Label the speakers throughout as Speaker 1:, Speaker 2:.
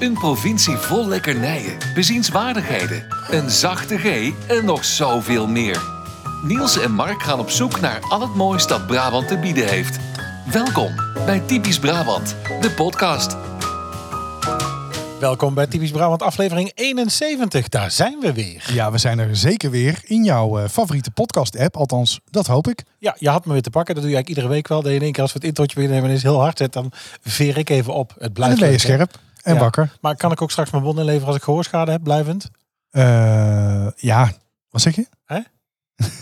Speaker 1: Een provincie vol lekkernijen, bezienswaardigheden, een zachte G en nog zoveel meer. Niels en Mark gaan op zoek naar al het moois dat Brabant te bieden heeft. Welkom bij Typisch Brabant, de podcast.
Speaker 2: Welkom bij Typisch Brabant, aflevering 71. Daar zijn we weer.
Speaker 3: Ja, we zijn er zeker weer in jouw eh, favoriete podcast-app. Althans, dat hoop ik.
Speaker 2: Ja, je had me weer te pakken. Dat doe je eigenlijk iedere week wel. Dat je in één keer als we het introotje weer nemen en is heel hard zet, dan veer ik even op. Het
Speaker 3: En
Speaker 2: blijft
Speaker 3: dan ben je
Speaker 2: leuk, hè?
Speaker 3: scherp en
Speaker 2: Ja.
Speaker 3: wakker.
Speaker 2: Maar kan ik ook straks mijn bon inleveren als ik gehoorschade heb, blijvend?
Speaker 3: Eh, ja, wat zeg je?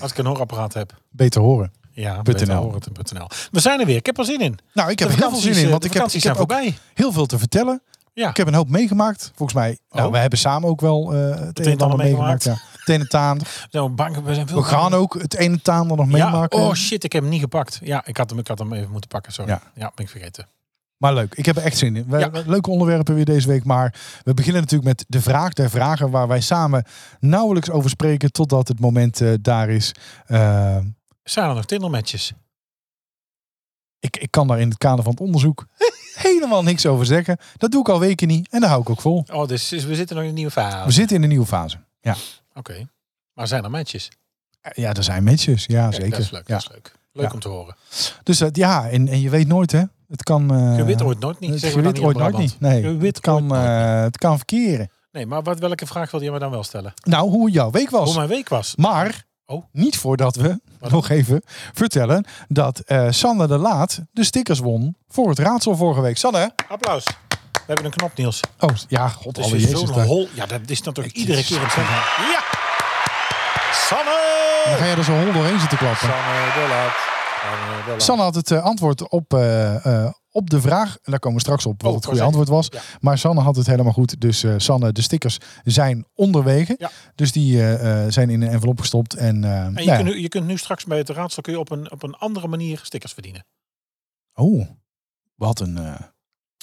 Speaker 2: Als ik een hoorapparaat heb.
Speaker 3: Beter horen.
Speaker 2: Ja,
Speaker 3: .nl.
Speaker 2: beter horen het, .nl. We zijn er weer. Ik heb er zin in.
Speaker 3: Nou, ik
Speaker 2: De
Speaker 3: heb er heel veel zin
Speaker 2: vakanties,
Speaker 3: in,
Speaker 2: eh,
Speaker 3: want
Speaker 2: de
Speaker 3: ik heb, ik
Speaker 2: vakanties
Speaker 3: heb
Speaker 2: zijn
Speaker 3: ook
Speaker 2: voorbij.
Speaker 3: heel veel te vertellen.
Speaker 2: Ja.
Speaker 3: Ik heb een hoop meegemaakt. Volgens mij, nou,
Speaker 2: Oh.
Speaker 3: we hebben samen ook wel eh, het een en ander meegemaakt. Ja. Het een en het ander.
Speaker 2: We zijn ook bang. We zijn veel
Speaker 3: We gaan ook het een en het ander nog
Speaker 2: Oh. ja,
Speaker 3: meemaken.
Speaker 2: Oh shit, ik heb hem niet gepakt. Ja, ik had hem, ik had hem even moeten pakken. Sorry. Ja,
Speaker 3: Ja.
Speaker 2: ben ik vergeten.
Speaker 3: Maar leuk, ik heb er echt zin in. We,
Speaker 2: Ja.
Speaker 3: Leuke onderwerpen weer deze week. Maar we beginnen natuurlijk met de vraag der vragen. Waar wij samen nauwelijks over spreken. Totdat het moment eh, daar is. Eh,
Speaker 2: Zijn er nog Tinder-matches?
Speaker 3: ik, ik kan daar in het kader van het onderzoek helemaal niks over zeggen. Dat doe ik al weken niet. En daar hou ik ook vol.
Speaker 2: Oh, dus we zitten nog in een nieuwe verhaal.
Speaker 3: We zitten in een nieuwe fase. Ja,
Speaker 2: Oké. Maar zijn er matches?
Speaker 3: ja er zijn matches. Ja,
Speaker 2: Kijk,
Speaker 3: zeker.
Speaker 2: Dat is leuk.
Speaker 3: ja.
Speaker 2: Dat is leuk. Leuk
Speaker 3: Ja.
Speaker 2: om te horen.
Speaker 3: Dus dat ja, en, en je weet nooit hè. Het kan... eh,
Speaker 2: Je weet ooit nooit niet.
Speaker 3: het-
Speaker 2: zeggen
Speaker 3: je
Speaker 2: we
Speaker 3: weet
Speaker 2: dan
Speaker 3: ooit
Speaker 2: hier in
Speaker 3: nooit niet.
Speaker 2: Brabant.
Speaker 3: Nee,
Speaker 2: Je weet
Speaker 3: het kan,
Speaker 2: ooit nooit niet.
Speaker 3: eh, het kan verkeren.
Speaker 2: Nee, maar wat, welke vraag wilde je me dan wel stellen?
Speaker 3: Nou, hoe jouw week was.
Speaker 2: Hoe mijn week was?
Speaker 3: Maar
Speaker 2: Oh.
Speaker 3: niet voordat we
Speaker 2: Pardon?
Speaker 3: nog even vertellen dat eh Sanne de Laat de stickers won voor het raadsel vorige week. Sanne.
Speaker 2: Applaus. We hebben een knop, Niels.
Speaker 3: Oh, ja, god,
Speaker 2: Dus
Speaker 3: alle
Speaker 2: is zo'n
Speaker 3: jezus. daar-
Speaker 2: hol. Ja, dat is natuurlijk
Speaker 3: Het
Speaker 2: iedere
Speaker 3: is-
Speaker 2: keer hetzelfde. Ja!
Speaker 3: Dan
Speaker 2: Sanne!
Speaker 3: ga je er zo hol doorheen zitten klappen.
Speaker 2: Sanne de Laat. Sanne de Laat.
Speaker 3: Sanne had het eh, antwoord op, eh, eh, op de vraag. En daar komen we straks op wat
Speaker 2: Oh,
Speaker 3: het
Speaker 2: ik wou
Speaker 3: goede antwoord was.
Speaker 2: ja.
Speaker 3: Maar Sanne had het helemaal goed. Dus eh, Sanne, de stickers zijn onderwegen.
Speaker 2: Ja.
Speaker 3: Dus die eh, eh, zijn in een envelop gestopt. En, eh, nou
Speaker 2: En je,
Speaker 3: ja.
Speaker 2: kunt nu, je kunt nu straks bij het raadsel kun je op, een, op een andere manier stickers verdienen.
Speaker 3: Oh, wat een... eh,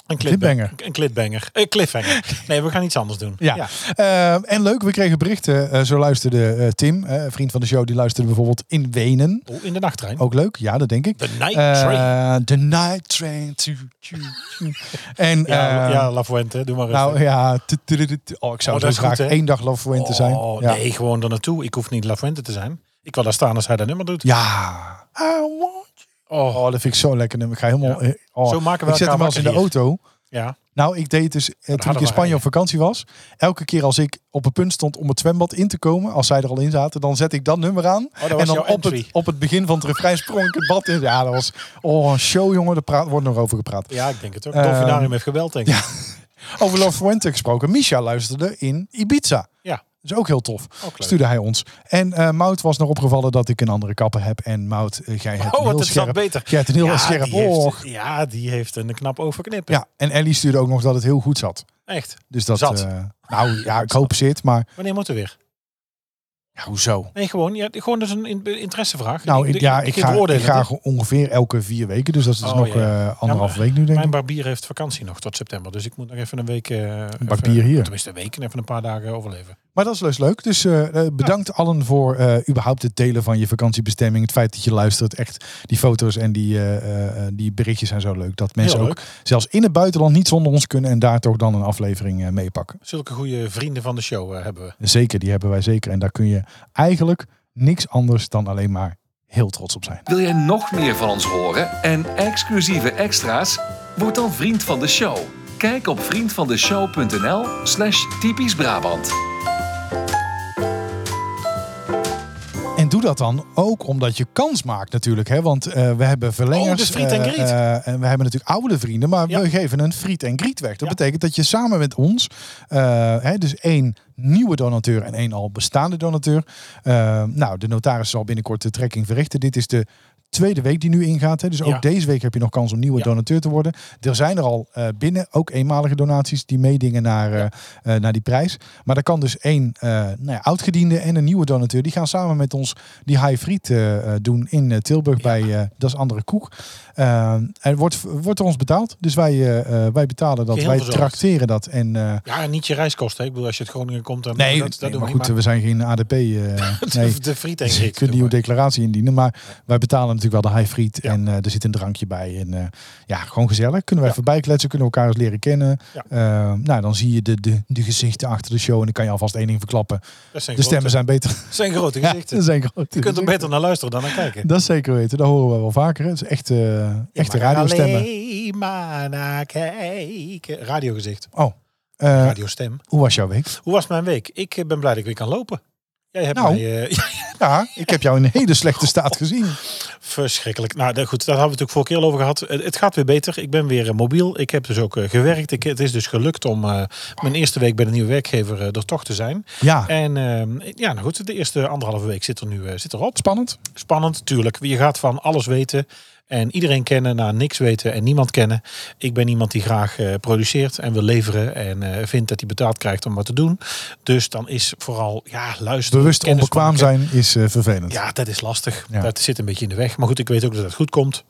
Speaker 2: Een
Speaker 3: Cliffhanger.
Speaker 2: cliffhanger. Een cliffhanger. Eh, cliffhanger. Nee, we gaan iets anders doen.
Speaker 3: Ja. Eh, en leuk, we kregen berichten. Eh, zo luisterde eh, Tim, eh, een vriend van de show, die luisterde bijvoorbeeld in Wenen.
Speaker 2: Oh, in de nachttrein.
Speaker 3: Ook leuk, ja, dat denk ik.
Speaker 2: The night
Speaker 3: Eh,
Speaker 2: train.
Speaker 3: the night train. to- to- to. En
Speaker 2: Ja,
Speaker 3: eh,
Speaker 2: ja La Fuente, doe maar rustig.
Speaker 3: nou ja, tu- tu- tu- tu- oh, ik zou
Speaker 2: Oh,
Speaker 3: zo
Speaker 2: dat is
Speaker 3: graag
Speaker 2: goed, hè?
Speaker 3: één dag Love Win te zijn.
Speaker 2: Oh,
Speaker 3: ja.
Speaker 2: nee, gewoon er naartoe. Ik hoef niet La Fuente te zijn. Ik wil daar staan als hij dat nummer doet.
Speaker 3: ja. I want you.
Speaker 2: Oh,
Speaker 3: Oh, dat vind ik zo lekker. nummer. Ik ga helemaal. eh, oh.
Speaker 2: Zo maken we
Speaker 3: ik
Speaker 2: elkaar
Speaker 3: zet hem wel eens in de
Speaker 2: wakker
Speaker 3: auto.
Speaker 2: ja.
Speaker 3: Nou, ik deed het dus eh, toen ik
Speaker 2: hadden
Speaker 3: in
Speaker 2: we
Speaker 3: Spanje op
Speaker 2: eigenlijk.
Speaker 3: vakantie was. Elke keer als ik op het punt stond om het zwembad in te komen, als zij er al in zaten, dan zet ik dat nummer aan.
Speaker 2: Oh, dat was
Speaker 3: en dan
Speaker 2: jouw
Speaker 3: op het,
Speaker 2: entry.
Speaker 3: op het begin van het refrein sprong ik het bad in. Ja, dat was oh een show jongen. Daar praat, wordt nog over gepraat.
Speaker 2: ja, ik denk het ook.
Speaker 3: Ehm,
Speaker 2: Dolfinarium heeft geweld, denk ik. Ja.
Speaker 3: Over Love Fuente gesproken. Misha luisterde in Ibiza.
Speaker 2: Ja.
Speaker 3: Dat is ook heel tof.
Speaker 2: leuk.
Speaker 3: Stuurde hij ons. En eh Mout was nog opgevallen dat ik een andere kapper heb. En Mout, eh, jij hebt
Speaker 2: Oh,
Speaker 3: een
Speaker 2: wat
Speaker 3: heel
Speaker 2: het zat
Speaker 3: scherp.
Speaker 2: beter.
Speaker 3: Jij hebt een heel scherp
Speaker 2: die heeft-
Speaker 3: oog.
Speaker 2: ja, die heeft een knap overknippen.
Speaker 3: Ja, en Ellie stuurde ook nog dat het heel goed zat.
Speaker 2: Echt.
Speaker 3: Dus dat.
Speaker 2: Zat.
Speaker 3: eh, nou ja, ik hoop zit, maar
Speaker 2: Wanneer moeten we weer?
Speaker 3: ja, hoezo?
Speaker 2: Nee, gewoon, ja, gewoon dus een in- interessevraag.
Speaker 3: Nou, ik,
Speaker 2: de-
Speaker 3: ja, ik
Speaker 2: geen
Speaker 3: ga, ik
Speaker 2: beoordeling,
Speaker 3: ga
Speaker 2: hè?
Speaker 3: gewoon ongeveer elke vier weken. Dus dat is
Speaker 2: Oh,
Speaker 3: nog
Speaker 2: ja,
Speaker 3: eh,
Speaker 2: ja.
Speaker 3: anderhalf
Speaker 2: Ja,
Speaker 3: week nu, denk ik.
Speaker 2: Mijn barbier heeft vakantie nog tot september. Dus ik moet nog even een week... eh, even-
Speaker 3: barbier hier.
Speaker 2: Tenminste, een week en even een paar dagen overleven.
Speaker 3: Maar dat is dus leuk. Dus eh, eh, bedankt allen voor eh, überhaupt het delen van je vakantiebestemming. Het feit dat je luistert. Echt, die foto's en die, eh, eh, eh, die berichtjes zijn zo leuk. Dat mensen
Speaker 2: Heel
Speaker 3: ook zelfs in het buitenland niet zonder ons kunnen. En daar toch dan een aflevering eh, meepakken.
Speaker 2: Zulke goede vrienden van de show eh, hebben we.
Speaker 3: Zeker, die hebben wij zeker. En daar kun je eigenlijk niks anders dan alleen maar heel trots op zijn.
Speaker 1: Wil jij nog meer van ons horen en exclusieve extra's? Word dan vriend van de show. Kijk op vriendvandeshow.nl slash typisch Brabant.
Speaker 3: En doe dat dan ook omdat je kans maakt natuurlijk. Hè? Want eh, we hebben verlengers.
Speaker 2: Oh, dus friet en
Speaker 3: eh,
Speaker 2: griet.
Speaker 3: eh, en we hebben natuurlijk oude vrienden. Maar
Speaker 2: Ja.
Speaker 3: we geven een friet en griet weg.
Speaker 2: Ja.
Speaker 3: Dat betekent dat je samen met ons... eh, hè, dus één nieuwe donateur en één al bestaande donateur. eh, nou, de notaris zal binnenkort de trekking verrichten. Dit is de... Tweede week die nu ingaat. Hè? Dus ook
Speaker 2: Ja.
Speaker 3: deze week heb je nog kans om nieuwe
Speaker 2: Ja.
Speaker 3: donateur te worden. Er zijn er al eh, binnen ook eenmalige donaties die meedingen naar, eh, eh, naar die prijs. Maar er kan dus één eh nou ja, oudgediende en een nieuwe donateur. Die gaan samen met ons die high friet eh, eh, doen in eh, Tilburg bij eh, Dat is Andere Koek. Eh, en wordt, wordt er ons betaald. Dus wij, eh, eh, wij betalen dat.
Speaker 2: Geheel
Speaker 3: wij
Speaker 2: verzorgd.
Speaker 3: tracteren dat. En, eh,
Speaker 2: Ja, en niet je reiskosten. hè. Ik bedoel, als je het Groningen komt, dan
Speaker 3: nee,
Speaker 2: dat, dat
Speaker 3: nee,
Speaker 2: doen
Speaker 3: maar
Speaker 2: we
Speaker 3: goed,
Speaker 2: niet.
Speaker 3: we zijn geen ADP. eh,
Speaker 2: Maar
Speaker 3: nee.
Speaker 2: de, de friet en griet
Speaker 3: Dus je kunt
Speaker 2: doen
Speaker 3: nieuwe
Speaker 2: we.
Speaker 3: declaratie indienen, maar wij betalen komt natuurlijk wel de high friet en eh, er zit een drankje bij. En eh, ja, gewoon gezellig. Kunnen we even bijkletsen, kunnen we elkaar eens leren kennen.
Speaker 2: Ja.
Speaker 3: Eh, nou, dan zie je de, de, de gezichten achter de show en dan kan je alvast één ding verklappen.
Speaker 2: Dat zijn
Speaker 3: De stemmen
Speaker 2: grote,
Speaker 3: zijn beter.
Speaker 2: zijn grote
Speaker 3: Ja,
Speaker 2: gezichten.
Speaker 3: dat zijn grote
Speaker 2: je kunt er
Speaker 3: gezichten.
Speaker 2: beter naar luisteren dan naar kijken.
Speaker 3: Dat zeker weten, dat horen we wel vaker. hè. Het is echt, eh echte
Speaker 2: Je mag er
Speaker 3: radiostemmen.
Speaker 2: Alleen maar naar kijken. Radiogezicht.
Speaker 3: Oh, eh,
Speaker 2: Radiostem.
Speaker 3: hoe was jouw week?
Speaker 2: Hoe was mijn week? Ik eh, ben blij dat ik weer kan lopen. Jij hebt
Speaker 3: Nou.
Speaker 2: mij eh,
Speaker 3: Ja, ik heb jou in een hele slechte staat gezien.
Speaker 2: verschrikkelijk. Nou, dat- goed, daar hebben we het natuurlijk vorige keer al over gehad. Het, het gaat weer beter. Ik ben weer eh, mobiel. Ik heb dus ook eh, gewerkt. Ik, het is dus gelukt om eh, mijn eerste week bij de nieuwe werkgever eh, er toch te zijn.
Speaker 3: Ja,
Speaker 2: En eh, ja, nou goed, de eerste anderhalve week zit er nu eh, zit erop.
Speaker 3: spannend.
Speaker 2: Spannend, tuurlijk. Je gaat van alles weten en iedereen kennen naar niks weten en niemand kennen. Ik ben iemand die graag eh, produceert en wil leveren en eh, vindt dat hij betaald krijgt om wat te doen. Dus dan is vooral, ja, luisteren.
Speaker 3: Bewust
Speaker 2: kennis
Speaker 3: onbekwaam
Speaker 2: maken.
Speaker 3: zijn is eh, vervelend.
Speaker 2: Ja, dat is lastig.
Speaker 3: Ja.
Speaker 2: Dat zit een beetje in de weg. Maar goed, ik weet ook dat het goed komt.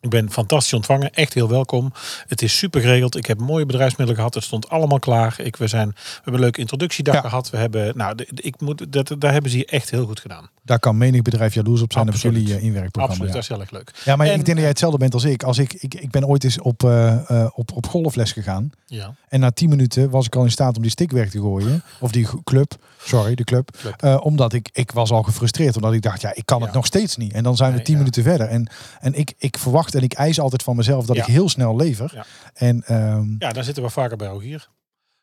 Speaker 2: Ik ben fantastisch ontvangen. Echt heel welkom. Het is super geregeld. Ik heb mooie bedrijfsmiddelen gehad. Het stond allemaal klaar. Ik, we, zijn, we hebben een leuke introductiedag
Speaker 3: Ja.
Speaker 2: gehad. We hebben, nou, de- de- ik moet, dat, daar hebben ze hier echt heel goed gedaan.
Speaker 3: Daar kan menig bedrijf jaloers op zijn
Speaker 2: Absoluut.
Speaker 3: op jullie eh, inwerkprogramma.
Speaker 2: Absoluut,
Speaker 3: ja.
Speaker 2: dat is heel erg leuk.
Speaker 3: Ja, maar
Speaker 2: En-
Speaker 3: ik denk dat jij hetzelfde bent als ik. Als ik, ik, ik ben ooit eens op, eh, eh, op, op golfles gegaan.
Speaker 2: Ja.
Speaker 3: En na 10 minuten was ik al in staat om die stick weg te gooien. Of die go- club. Sorry, de club.
Speaker 2: Club.
Speaker 3: Eh, omdat ik, ik was al gefrustreerd. Omdat ik dacht, ja, ik kan het
Speaker 2: Ja.
Speaker 3: nog steeds niet. En dan zijn we
Speaker 2: Nee,
Speaker 3: 10
Speaker 2: ja.
Speaker 3: minuten verder. En, en ik, ik verwacht en ik eis altijd van mezelf dat
Speaker 2: Ja.
Speaker 3: ik heel snel lever.
Speaker 2: Ja.
Speaker 3: En ehm,
Speaker 2: ja, daar zitten we vaker bij ook hier.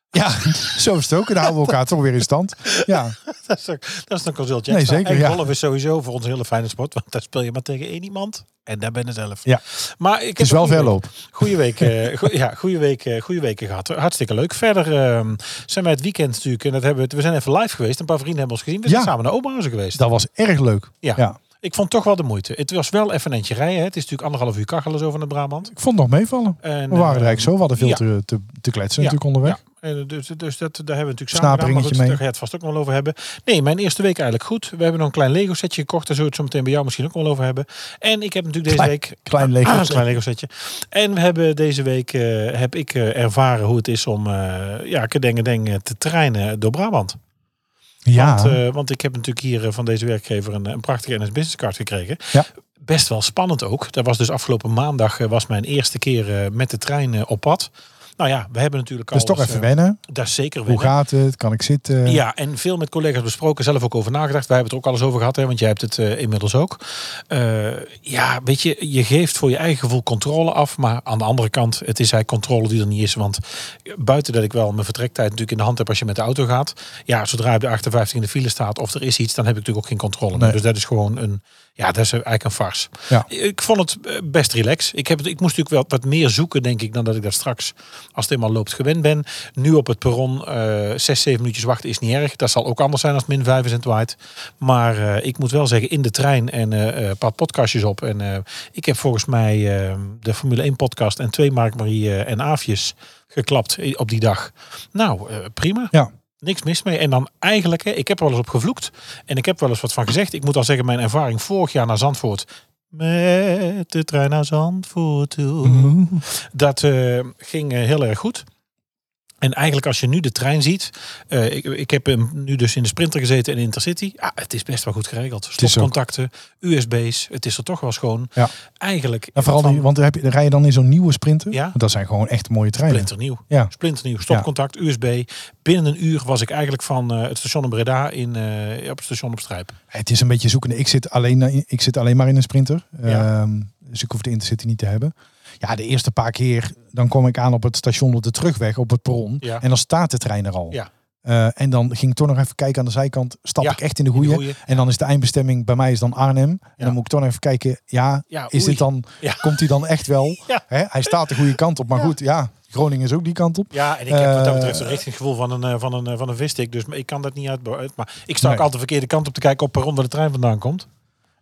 Speaker 3: ja, zo is het ook. En dan houden we elkaar toch weer in stand. Ja,
Speaker 2: Dat is, ook- dat is een consultje.
Speaker 3: Nee, zeker,
Speaker 2: En
Speaker 3: ja.
Speaker 2: golf is sowieso voor ons een hele fijne sport. Want daar speel je maar tegen één iemand. En daar ben je zelf.
Speaker 3: Ja.
Speaker 2: Maar ik
Speaker 3: het is wel verloop.
Speaker 2: Goeie week, eh, goe- ja, goeie week, eh, goeie weken gehad. Hartstikke leuk. Verder ehm, zijn wij het weekend natuurlijk, en dat hebben we, we zijn even live geweest. Een paar vrienden hebben ons gezien. We zijn
Speaker 3: Ja.
Speaker 2: samen naar Oberhausen geweest.
Speaker 3: Dat was erg leuk.
Speaker 2: Ja.
Speaker 3: ja.
Speaker 2: Ik vond toch wel de moeite. Het was wel even een eentje rijden. Hè. Het is natuurlijk anderhalf uur kachelen zo van de Brabant.
Speaker 3: Ik vond het nog meevallen.
Speaker 2: En,
Speaker 3: We waren er
Speaker 2: ehm,
Speaker 3: eigenlijk zo. We hadden veel
Speaker 2: ja.
Speaker 3: te, te, te kletsen
Speaker 2: Ja,
Speaker 3: natuurlijk onderweg.
Speaker 2: Ja, en dus, dus dat, daar hebben we natuurlijk samen gedaan. Maar
Speaker 3: Snaperingetje
Speaker 2: goed,
Speaker 3: mee.
Speaker 2: daar ga je het vast ook nog wel over hebben. Nee, mijn eerste week eigenlijk goed. We hebben nog een klein Lego setje gekocht. Daar zullen we het zo meteen bij jou misschien ook nog wel over hebben. En ik heb natuurlijk deze
Speaker 3: Klein-
Speaker 2: week... Ah,
Speaker 3: Klein leeg.
Speaker 2: Een klein Lego setje. En we hebben deze week eh, heb ik eh, ervaren hoe het is om eh ja, kedengedeng te treinen door Brabant.
Speaker 3: Ja.
Speaker 2: Want, eh, want ik heb natuurlijk hier eh, van deze werkgever een, een prachtige NS Business Card gekregen.
Speaker 3: Ja.
Speaker 2: Best wel spannend ook. Dat was dus afgelopen maandag eh, was mijn eerste keer eh, met de trein eh, op pad. Nou ja, we hebben natuurlijk al...
Speaker 3: Dus toch
Speaker 2: eens,
Speaker 3: even
Speaker 2: eh,
Speaker 3: wennen.
Speaker 2: Daar zeker
Speaker 3: Hoe
Speaker 2: weer.
Speaker 3: gaat het? Kan ik zitten?
Speaker 2: Ja, en veel met collega's besproken, zelf ook over nagedacht. Wij hebben het er ook alles over gehad, hè, want jij hebt het eh, inmiddels ook. Eh, ja, weet je, je geeft voor je eigen gevoel controle af. Maar aan de andere kant, het is eigenlijk controle die er niet is. Want eh, buiten dat ik wel mijn vertrektijd natuurlijk in de hand heb als je met de auto gaat. Ja, zodra je op de 58 in de file staat of er is iets, dan heb ik natuurlijk ook geen controle meer.
Speaker 3: Nee.
Speaker 2: Dus dat is gewoon een, ja, dat is eigenlijk een farce.
Speaker 3: Ja.
Speaker 2: Ik vond het eh, best relaxed. Ik, heb het, ik moest natuurlijk wel wat meer zoeken, denk ik, dan dat ik dat straks, als het eenmaal loopt, gewend ben. Nu op het perron, eh 6, 7 minuutjes wachten is niet erg. Dat zal ook anders zijn als het min 5 is en het waait. Maar eh, ik moet wel zeggen, in de trein en eh, eh, een paar podcastjes op. En eh, ik heb volgens mij eh, de Formule 1 podcast en twee Mark Marie eh, en Aafjes geklapt eh, op die dag. Nou, eh, prima.
Speaker 3: Ja.
Speaker 2: Niks mis mee. En dan eigenlijk, hè, ik heb er wel eens op gevloekt. En ik heb wel eens wat van gezegd. Ik moet al zeggen, mijn ervaring vorig jaar naar Zandvoort. Met de trein naar Zandvoort toe.
Speaker 3: Mhm.
Speaker 2: Dat eh, ging eh, heel erg goed. En eigenlijk als je nu de trein ziet. eh, ik, ik heb hem nu dus in de Sprinter gezeten en in Intercity. Ja, het is best wel goed geregeld.
Speaker 3: ook-
Speaker 2: Stopcontacten, USB's. Het is er toch wel schoon.
Speaker 3: Ja.
Speaker 2: Eigenlijk.
Speaker 3: En vooral
Speaker 2: van-
Speaker 3: die, want heb je, rij je dan in zo'n nieuwe sprinter?
Speaker 2: Ja.
Speaker 3: Want Dat zijn gewoon echt mooie treinen.
Speaker 2: Splinternieuw.
Speaker 3: Ja.
Speaker 2: Splinternieuw. Stopcontact, USB. Binnen een uur was ik eigenlijk van eh, het station in Breda in, eh, op het station op Strijp.
Speaker 3: Het is een beetje zoekende. Ik zit alleen, ik zit alleen maar in een sprinter.
Speaker 2: Ja.
Speaker 3: Ehm, dus ik hoef de Intercity niet te hebben. Ja, de eerste paar keer dan kom ik aan op het station op de terugweg, op het perron.
Speaker 2: Ja.
Speaker 3: En dan staat de trein er al.
Speaker 2: Ja.
Speaker 3: Eh, en dan ging ik toch nog even kijken aan de zijkant. Stap
Speaker 2: Ja,
Speaker 3: ik echt in de
Speaker 2: In de
Speaker 3: goede?
Speaker 2: goeie.
Speaker 3: En dan is de eindbestemming bij mij is dan Arnhem. En
Speaker 2: Ja.
Speaker 3: dan moet ik toch nog even kijken. Ja,
Speaker 2: Ja,
Speaker 3: is
Speaker 2: Ah, oei.
Speaker 3: dit dan,
Speaker 2: Ja.
Speaker 3: komt hij dan echt wel?
Speaker 2: Ja.
Speaker 3: Hè? Hij staat de goede kant op. Maar goed, ja, Groningen is ook die kant op.
Speaker 2: Ja, en ik heb wat dat
Speaker 3: Eh,
Speaker 2: betreft een richtinggevoel van een, eh, van een, eh, van een visstick. Dus ik kan dat niet uit. uit- Maar ik sta ook
Speaker 3: Nee.
Speaker 2: altijd de verkeerde kant op te kijken op waarom de trein vandaan komt.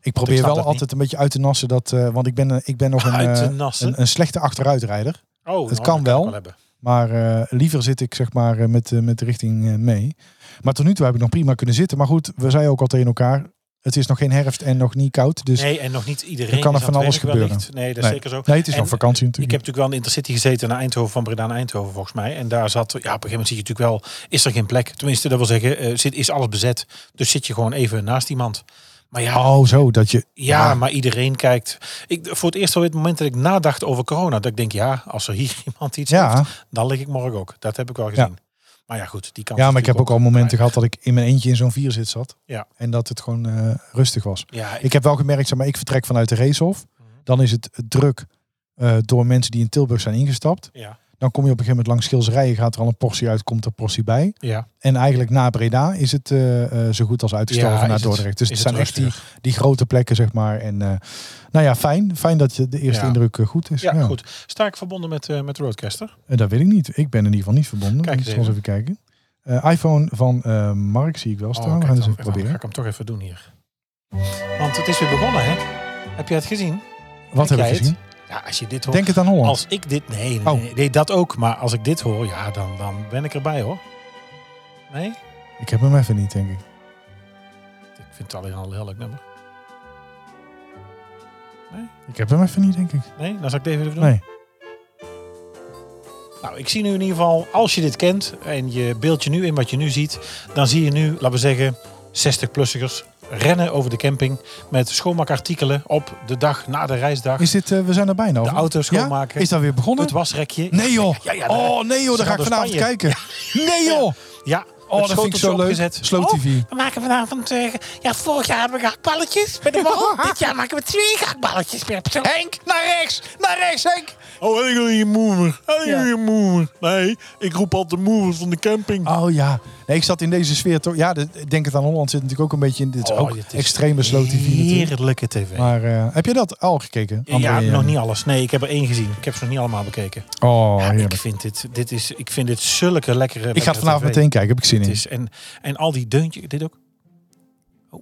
Speaker 3: Ik
Speaker 2: Ik
Speaker 3: probeer
Speaker 2: snap
Speaker 3: wel
Speaker 2: dat
Speaker 3: altijd een beetje uit te nassen dat, eh, want ik ben, eh, ik ben nog een,
Speaker 2: Uit te
Speaker 3: eh,
Speaker 2: nassen?
Speaker 3: een, een slechte achteruitrijder.
Speaker 2: Oh,
Speaker 3: kan
Speaker 2: ik
Speaker 3: wel.
Speaker 2: hebben.
Speaker 3: Maar eh, liever zit ik zeg maar eh, met, eh, met de richting eh, mee. Maar tot nu toe heb ik nog prima kunnen zitten. Maar goed, we zeiden ook al tegen elkaar, het is nog geen herfst en nog niet koud. Dus nee,
Speaker 2: Nee, en nog niet iedereen.
Speaker 3: er kan
Speaker 2: is
Speaker 3: er van
Speaker 2: aan het
Speaker 3: alles
Speaker 2: werk
Speaker 3: gebeuren.
Speaker 2: wellicht. Nee, dat is
Speaker 3: Nee.
Speaker 2: zeker zo.
Speaker 3: het is
Speaker 2: En
Speaker 3: nog
Speaker 2: Ik
Speaker 3: vakantie natuurlijk.
Speaker 2: heb natuurlijk wel in de Intercity gezeten naar Eindhoven, van Breda naar Eindhoven volgens mij. En daar zat, ja, op een gegeven moment zie je natuurlijk wel, is er geen plek. Tenminste, dat wil zeggen, eh, zit, is alles bezet. Dus zit je gewoon even naast iemand. Maar ja,
Speaker 3: Oh, zo, dat je...
Speaker 2: ja, maar iedereen kijkt. Ik, voor het eerst al het moment dat ik nadacht over corona. Dat ik denk, ja, als er hier iemand iets
Speaker 3: Ja.
Speaker 2: heeft, dan lig ik morgen ook. Dat heb ik wel gezien. Maar ja, goed, die kans
Speaker 3: Ja,
Speaker 2: is
Speaker 3: maar ik heb ook
Speaker 2: natuurlijk
Speaker 3: al momenten
Speaker 2: klein.
Speaker 3: gehad dat ik in mijn eentje in zo'n vier zat.
Speaker 2: Ja.
Speaker 3: En dat het gewoon eh, rustig was.
Speaker 2: Ja, ik,
Speaker 3: Ik heb wel gemerkt, zeg maar, ik vertrek vanuit de Racehof.
Speaker 2: Mhm.
Speaker 3: Dan is het druk eh, door mensen die in Tilburg zijn ingestapt.
Speaker 2: ja,
Speaker 3: Dan kom je op een gegeven moment langs Schilzerijen, gaat er al een portie uit, komt er een portie bij.
Speaker 2: ja.
Speaker 3: En eigenlijk na Breda is het eh, eh, zo goed als uitgestorven
Speaker 2: Ja,
Speaker 3: naar
Speaker 2: is het-
Speaker 3: Dordrecht. dus
Speaker 2: is
Speaker 3: het
Speaker 2: het
Speaker 3: zijn echt die,
Speaker 2: rustiger.
Speaker 3: die grote plekken, zeg maar. En eh, nou ja, fijn. Fijn dat je de eerste
Speaker 2: Ja.
Speaker 3: indruk eh, goed is.
Speaker 2: ja, goed. Sterk verbonden met, eh met Roadcaster.
Speaker 3: Eh, dat weet ik niet. Ik ben in ieder geval niet verbonden.
Speaker 2: Kijk
Speaker 3: Kijk
Speaker 2: eens
Speaker 3: eens even kijken. Eh, iPhone van eh, Mark zie ik wel staan.
Speaker 2: Oh, kijk
Speaker 3: We gaan eens
Speaker 2: dan.
Speaker 3: even
Speaker 2: Wacht, dan ga
Speaker 3: proberen.
Speaker 2: ik hem toch even doen hier. Want het is weer begonnen, hè? Heb jij het gezien?
Speaker 3: Wat heb
Speaker 2: Kijk
Speaker 3: ik
Speaker 2: jij
Speaker 3: gezien?
Speaker 2: het? Ja, als je dit hoort.
Speaker 3: Denk het aan Holland.
Speaker 2: als ik dit. Nee, nee,
Speaker 3: Oh.
Speaker 2: nee, nee, dat ook. Maar als ik dit hoor, ja, dan, dan ben ik erbij hoor. Nee?
Speaker 3: Ik heb hem even niet, denk ik.
Speaker 2: Ik vind het alleen al een heel leuk nummer.
Speaker 3: Ik heb hem even niet, denk ik.
Speaker 2: Nee? Dan zal ik het even doen.
Speaker 3: Nee.
Speaker 2: Nou, ik zie nu in ieder geval, als je dit kent en je beeld je nu in wat je nu ziet, dan zie je nu, laten we zeggen, 60-plussers rennen over de camping met schoonmaakartikelen op de dag na de reisdag.
Speaker 3: Is dit, eh, we zijn er bijna over.
Speaker 2: auto
Speaker 3: Ja?
Speaker 2: schoonmaken.
Speaker 3: Is dat weer begonnen?
Speaker 2: het wasrekje.
Speaker 3: Nee joh.
Speaker 2: Ja, ja,
Speaker 3: oh nee joh,
Speaker 2: ze
Speaker 3: daar ga
Speaker 2: gaan
Speaker 3: ik
Speaker 2: door
Speaker 3: vanavond
Speaker 2: Spanje.
Speaker 3: kijken. Nee joh.
Speaker 2: Ja.
Speaker 3: Oh,
Speaker 2: het
Speaker 3: dat vind ik
Speaker 2: schoteltje
Speaker 3: zo leuk.
Speaker 2: opgezet.
Speaker 3: Slow
Speaker 2: Oh,
Speaker 3: TV.
Speaker 2: we maken vanavond, eh, ja, vorig jaar hebben we gehaktballetjes met de mol. Dit jaar maken we twee gehaktballetjes meer op Henk, naar rechts, naar rechts, Henk. Oh, en ik wil je moemer. En
Speaker 3: wil je
Speaker 2: moemer. Nee, ik roep altijd de moemer van de camping.
Speaker 3: Oh ja. Nee, ik zat in deze sfeer toch. Ja, de- Denk het aan Holland zit natuurlijk ook een beetje in. Dit is
Speaker 2: Oh,
Speaker 3: ook extreme slow TV natuurlijk.
Speaker 2: Heerlijke tv.
Speaker 3: Maar eh, heb je dat al gekeken? André?
Speaker 2: ja,
Speaker 3: Eh,
Speaker 2: nog niet alles. Nee, ik heb er één gezien. Ik heb ze nog niet allemaal bekeken.
Speaker 3: Oh, heerlijk.
Speaker 2: ik, vind dit, dit is, ik vind dit zulke lekkere
Speaker 3: Ik ga het
Speaker 2: lekkere
Speaker 3: vanavond
Speaker 2: tv.
Speaker 3: meteen kijken, heb ik zin
Speaker 2: Het
Speaker 3: in.
Speaker 2: is. En, en al die deuntjes. Dit ook. Oh.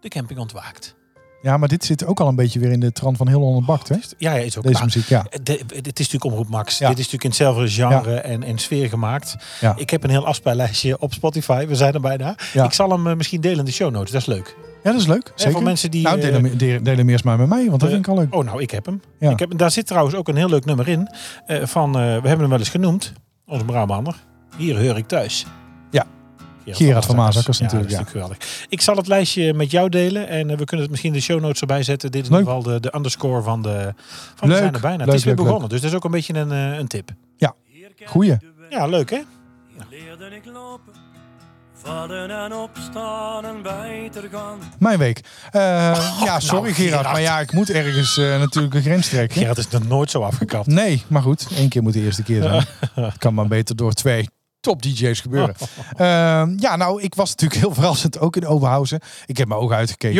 Speaker 2: De camping ontwaakt.
Speaker 3: Ja, maar dit zit ook al een beetje weer in de trant van heel Holland bakt, hè?
Speaker 2: Ja, ja is ook
Speaker 3: Deze
Speaker 2: maar-
Speaker 3: muziek, ja.
Speaker 2: De- eh, dit is natuurlijk Omroep Max.
Speaker 3: Ja.
Speaker 2: Dit is natuurlijk in hetzelfde genre en, en sfeer gemaakt.
Speaker 3: Ja.
Speaker 2: Ik heb een heel afspeellijstje op Spotify. We zijn er bijna.
Speaker 3: Ja.
Speaker 2: Ik zal hem eh, misschien delen in de show notes. Dat is leuk.
Speaker 3: Ja, dat is leuk. Zeker.
Speaker 2: voor mensen die,
Speaker 3: nou, deel
Speaker 2: eh,
Speaker 3: hem, deel, deel hem eerst maar met mij, want dat
Speaker 2: Eh,
Speaker 3: vind ik al leuk.
Speaker 2: Oh, nou, ik heb hem.
Speaker 3: Ja.
Speaker 2: Ik heb, daar zit trouwens ook een heel leuk nummer in. eh, van, eh, we hebben hem wel eens genoemd. Onze Brabander. Hier heur ik thuis.
Speaker 3: Ja. Gerard van Maasakkers natuurlijk,
Speaker 2: dat is natuurlijk geweldig. Ik zal het lijstje met jou delen. En eh, we kunnen het misschien in de show notes erbij zetten. Dit is in
Speaker 3: Leuk.
Speaker 2: ieder geval de, de underscore van de... Van
Speaker 3: Leuk,
Speaker 2: we zijn er bijna.
Speaker 3: leuk,
Speaker 2: het is weer
Speaker 3: leuk,
Speaker 2: begonnen. Dus dat is ook een beetje een, eh, een tip.
Speaker 3: Goeie.
Speaker 2: Ja, leuk hè?
Speaker 4: Hier leerde ik lopen, vallen en opstaan en beter gaan.
Speaker 3: Mijn week. Eh, ja, sorry
Speaker 2: nou,
Speaker 3: Gerard,
Speaker 2: Gerard.
Speaker 3: maar ja, ik moet ergens eh, natuurlijk een grens trekken.
Speaker 2: Gerard is nog nooit zo afgekapt.
Speaker 3: Nee, maar goed. Eén keer moet de eerste keer zijn. Het kan maar beter door twee top DJ's gebeuren. Ehm, ja, nou, ik was natuurlijk heel verrassend ook in Oberhausen. Ik heb mijn ogen uitgekeken.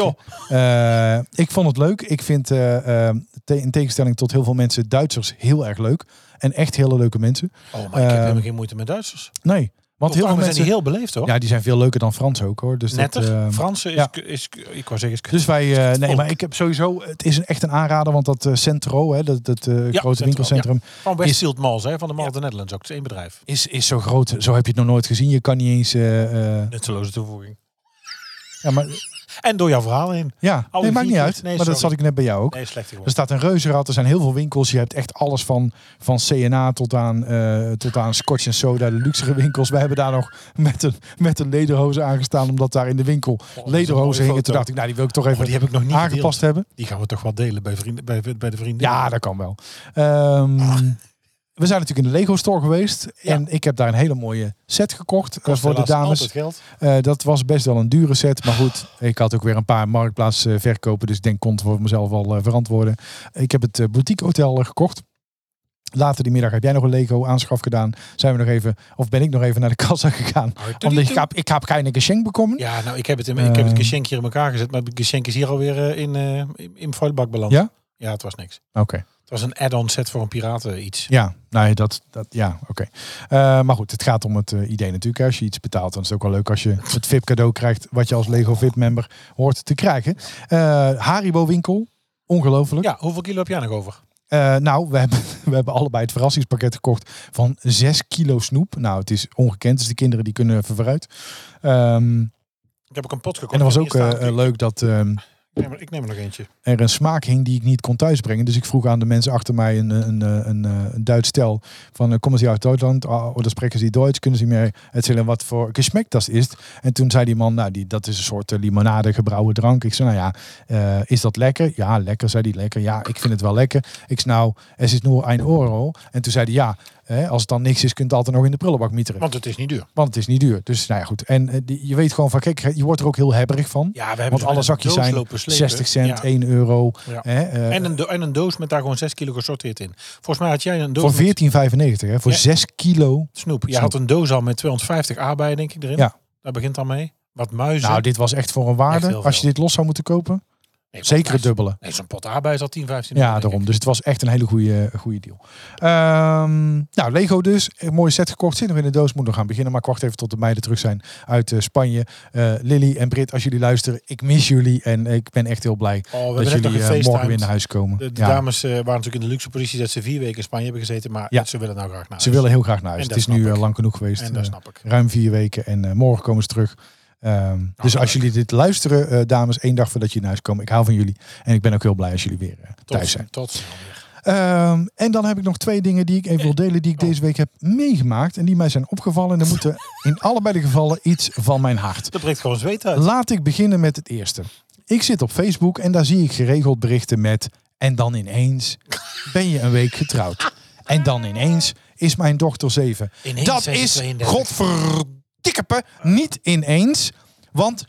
Speaker 2: Joh.
Speaker 3: Eh, ik vond het leuk. Ik vind, eh, eh, te- in tegenstelling tot heel veel mensen, Duitsers heel erg leuk. En echt hele leuke mensen.
Speaker 2: Oh, maar ik heb
Speaker 3: Eh,
Speaker 2: helemaal geen moeite met Duitsers.
Speaker 3: Nee, want heel
Speaker 2: Heel
Speaker 3: veel
Speaker 2: zijn die
Speaker 3: mensen...
Speaker 2: heel beleefd hoor.
Speaker 3: Ja, die zijn veel leuker dan Frans ook, hoor. Dus
Speaker 2: Netter.
Speaker 3: Dat, eh,
Speaker 2: Fransen is,
Speaker 3: ja.
Speaker 2: is, ik wou zeggen, is
Speaker 3: dus wij, eh, nee,
Speaker 2: volk.
Speaker 3: maar ik heb sowieso, het is een, echt een aanrader, want dat eh, Centro, hè, dat, dat eh, grote
Speaker 2: Centro,
Speaker 3: winkelcentrum,
Speaker 2: Van Westfield Malls, hè, van de Mall of the Netherlands ook. Het is één bedrijf.
Speaker 3: is, is zo groot. Zo heb je het nog nooit gezien. Je kan niet eens, eh, eh,
Speaker 2: Nutteloze toevoeging.
Speaker 3: ja, maar
Speaker 2: En door jouw verhaal heen.
Speaker 3: Ja,
Speaker 2: Alle
Speaker 3: nee, maakt niet
Speaker 2: vier
Speaker 3: uit.
Speaker 2: keer. Nee,
Speaker 3: maar dat
Speaker 2: sorry.
Speaker 3: zat ik net bij jou ook.
Speaker 2: Nee, slecht
Speaker 3: Er
Speaker 2: geworden.
Speaker 3: staat een reuzenrad, er zijn heel veel winkels. Je hebt echt alles van, van CNA tot aan, eh, tot aan Scotch en Soda, de luxere winkels. Wij hebben daar nog met een, met een lederhoze aangestaan, omdat daar in de winkel
Speaker 2: Oh, dat is een mooie
Speaker 3: lederhozen hingen.
Speaker 2: foto. Oh,
Speaker 3: Toen dacht ik, nou die wil ik toch even
Speaker 2: die heb ik nog niet
Speaker 3: aangepast hebben.
Speaker 2: Die gaan we toch wel delen bij, vrienden, bij, bij de vrienden.
Speaker 3: Ja, dat kan wel. Ehm, We zijn natuurlijk in de Lego Store geweest.
Speaker 2: Ah. Ja.
Speaker 3: En ik heb daar een hele mooie set gekocht eh,
Speaker 2: Kost
Speaker 3: voor de
Speaker 2: helaas
Speaker 3: dames.
Speaker 2: altijd geld.
Speaker 3: Eh, dat was best wel een dure set. Maar goed, ik had ook weer een paar marktplaats eh, verkopen. Dus ik denk, kon het voor mezelf wel eh, verantwoorden. Ik heb het eh, Boutique Hotel eh, gekocht. Later die middag heb jij nog een Lego aanschaf gedaan. Zijn we nog even, of ben ik nog even naar de kassa gegaan. Omdat ik heb, ik heb geen geschenk bekomen.
Speaker 2: Ja, nou, ik heb het, in, ik heb het
Speaker 3: Ehm.
Speaker 2: geschenk hier in elkaar gezet. Maar het geschenk is hier alweer eh, in, eh in, in vuilbak beland.
Speaker 3: Ja?
Speaker 2: Ja, het was niks.
Speaker 3: Oké.
Speaker 2: Het was een add-on set voor een piraten iets.
Speaker 3: Ja, nee, dat, dat ja, oké. Eh, maar goed, het gaat om het eh, idee natuurlijk. hè. Als je iets betaalt, dan is het ook wel leuk als je het VIP cadeau krijgt. Wat je als Lego VIP member hoort te krijgen. Eh, Haribo winkel. Ongelooflijk.
Speaker 2: Ja, hoeveel kilo heb jij nog over?
Speaker 3: Eh, nou, we hebben, we hebben allebei het verrassingspakket gekocht van 6 kilo snoep. Nou, het is ongekend, dus de kinderen die kunnen even vooruit. Ehm,
Speaker 2: Ik heb ook een pot gekocht.
Speaker 3: en dat was
Speaker 2: Hier
Speaker 3: ook
Speaker 2: staat
Speaker 3: eh,
Speaker 2: natuurlijk-
Speaker 3: leuk dat ehm,
Speaker 2: Ik neem er- Ik neem er nog eentje.
Speaker 3: er een smaak hing die ik niet kon thuisbrengen. Dus ik vroeg aan de mensen achter mij, een, een, een, een, eh, een Duits stel, van eh, komen ze uit Duitsland? Ah, Of dan spreken ze Duits, kunnen ze meer erzählen wat voor gesmack dat is? En toen zei die man, nou die, dat is een soort eh, limonade gebrouwen drank. Ik zei, nou ja, eh, is dat lekker? Ja, lekker, zei hij, lekker. Ja, ik vind het wel lekker. Ik zei, nou, es is nur ein euro. En toen zei hij, ja, hè, als het dan niks is, kunt het altijd nog in de prullenbak mieteren.
Speaker 2: Want het is niet duur.
Speaker 3: Want het is niet duur. Dus nou ja, goed. En eh, die, je weet gewoon van, kijk, je wordt er ook heel hebberig van.
Speaker 2: Ja, we hebben
Speaker 3: Want alle zakjes zijn 60 cent, 1 euro.
Speaker 2: Ja.
Speaker 3: Hè, eh,
Speaker 2: En een, do- en een doos met daar gewoon 6 kilo gesorteerd in. Volgens mij had jij een doos
Speaker 3: voor
Speaker 2: met
Speaker 3: 14,95 hè? Voor
Speaker 2: Ja.
Speaker 3: 6 kilo.
Speaker 2: snoep. Jij
Speaker 3: Snoep.
Speaker 2: had een doos al met 250 aardbeien, denk ik, erin.
Speaker 3: Ja.
Speaker 2: Daar begint dan mee. Wat muizen.
Speaker 3: Nou, dit was echt voor een
Speaker 2: Dus Echt
Speaker 3: waarde.
Speaker 2: heel
Speaker 3: Als je
Speaker 2: veel.
Speaker 3: dit los zou moeten kopen,
Speaker 2: Nee,
Speaker 3: zeker het
Speaker 2: volgens mij is-
Speaker 3: dubbele.
Speaker 2: Nee, zo'n pot aardbeien is al 10, 15 euro,
Speaker 3: Ja,
Speaker 2: denk
Speaker 3: daarom.
Speaker 2: ik.
Speaker 3: Dus het was echt een hele goede, goede deal. Ehm, nou, Lego dus. Een mooie set gekocht. Zit nog in de doos. Moet nog gaan beginnen. Maar ik wacht even tot de meiden terug zijn uit eh, Spanje. Eh, Lily en Britt, als jullie luisteren. Ik mis jullie. En ik ben echt heel blij
Speaker 2: Oh, we
Speaker 3: dat
Speaker 2: hebben net nog
Speaker 3: jullie eh, morgen
Speaker 2: gefacetimed.
Speaker 3: weer naar huis komen.
Speaker 2: De, de
Speaker 3: Ja.
Speaker 2: dames eh, waren natuurlijk in de luxe positie dat ze vier weken in Spanje hebben gezeten. Maar
Speaker 3: Ja.
Speaker 2: ze willen nou graag naar
Speaker 3: Ze
Speaker 2: huis.
Speaker 3: willen heel graag naar huis.
Speaker 2: En
Speaker 3: Het
Speaker 2: dat
Speaker 3: is nu
Speaker 2: snap
Speaker 3: eh,
Speaker 2: ik.
Speaker 3: lang genoeg geweest.
Speaker 2: En dat
Speaker 3: Eh,
Speaker 2: snap ik.
Speaker 3: ruim vier weken. En eh, morgen komen ze terug. Ehm, dus als
Speaker 2: leuk.
Speaker 3: jullie dit luisteren, eh, dames, één dag voordat jullie naar huis komen. Ik hou van jullie. En ik ben ook heel blij als jullie weer eh, thuis zijn.
Speaker 2: Tot, tot snel weer.
Speaker 3: Ehm, en dan heb ik nog twee dingen die ik even wil delen. Die ik deze week heb meegemaakt. En die mij zijn opgevallen. En er moeten in allebei de gevallen iets van mijn hart.
Speaker 2: Dat breekt gewoon zweet uit. Oh,
Speaker 3: Laat ik beginnen met het eerste. Ik zit op Facebook en daar zie ik geregeld berichten met... En dan ineens ben je een week getrouwd. En dan ineens is mijn dochter zeven.
Speaker 2: Ineens
Speaker 3: dat
Speaker 2: zijn ze
Speaker 3: is
Speaker 2: 32.
Speaker 3: godverdikkepe niet ineens. Want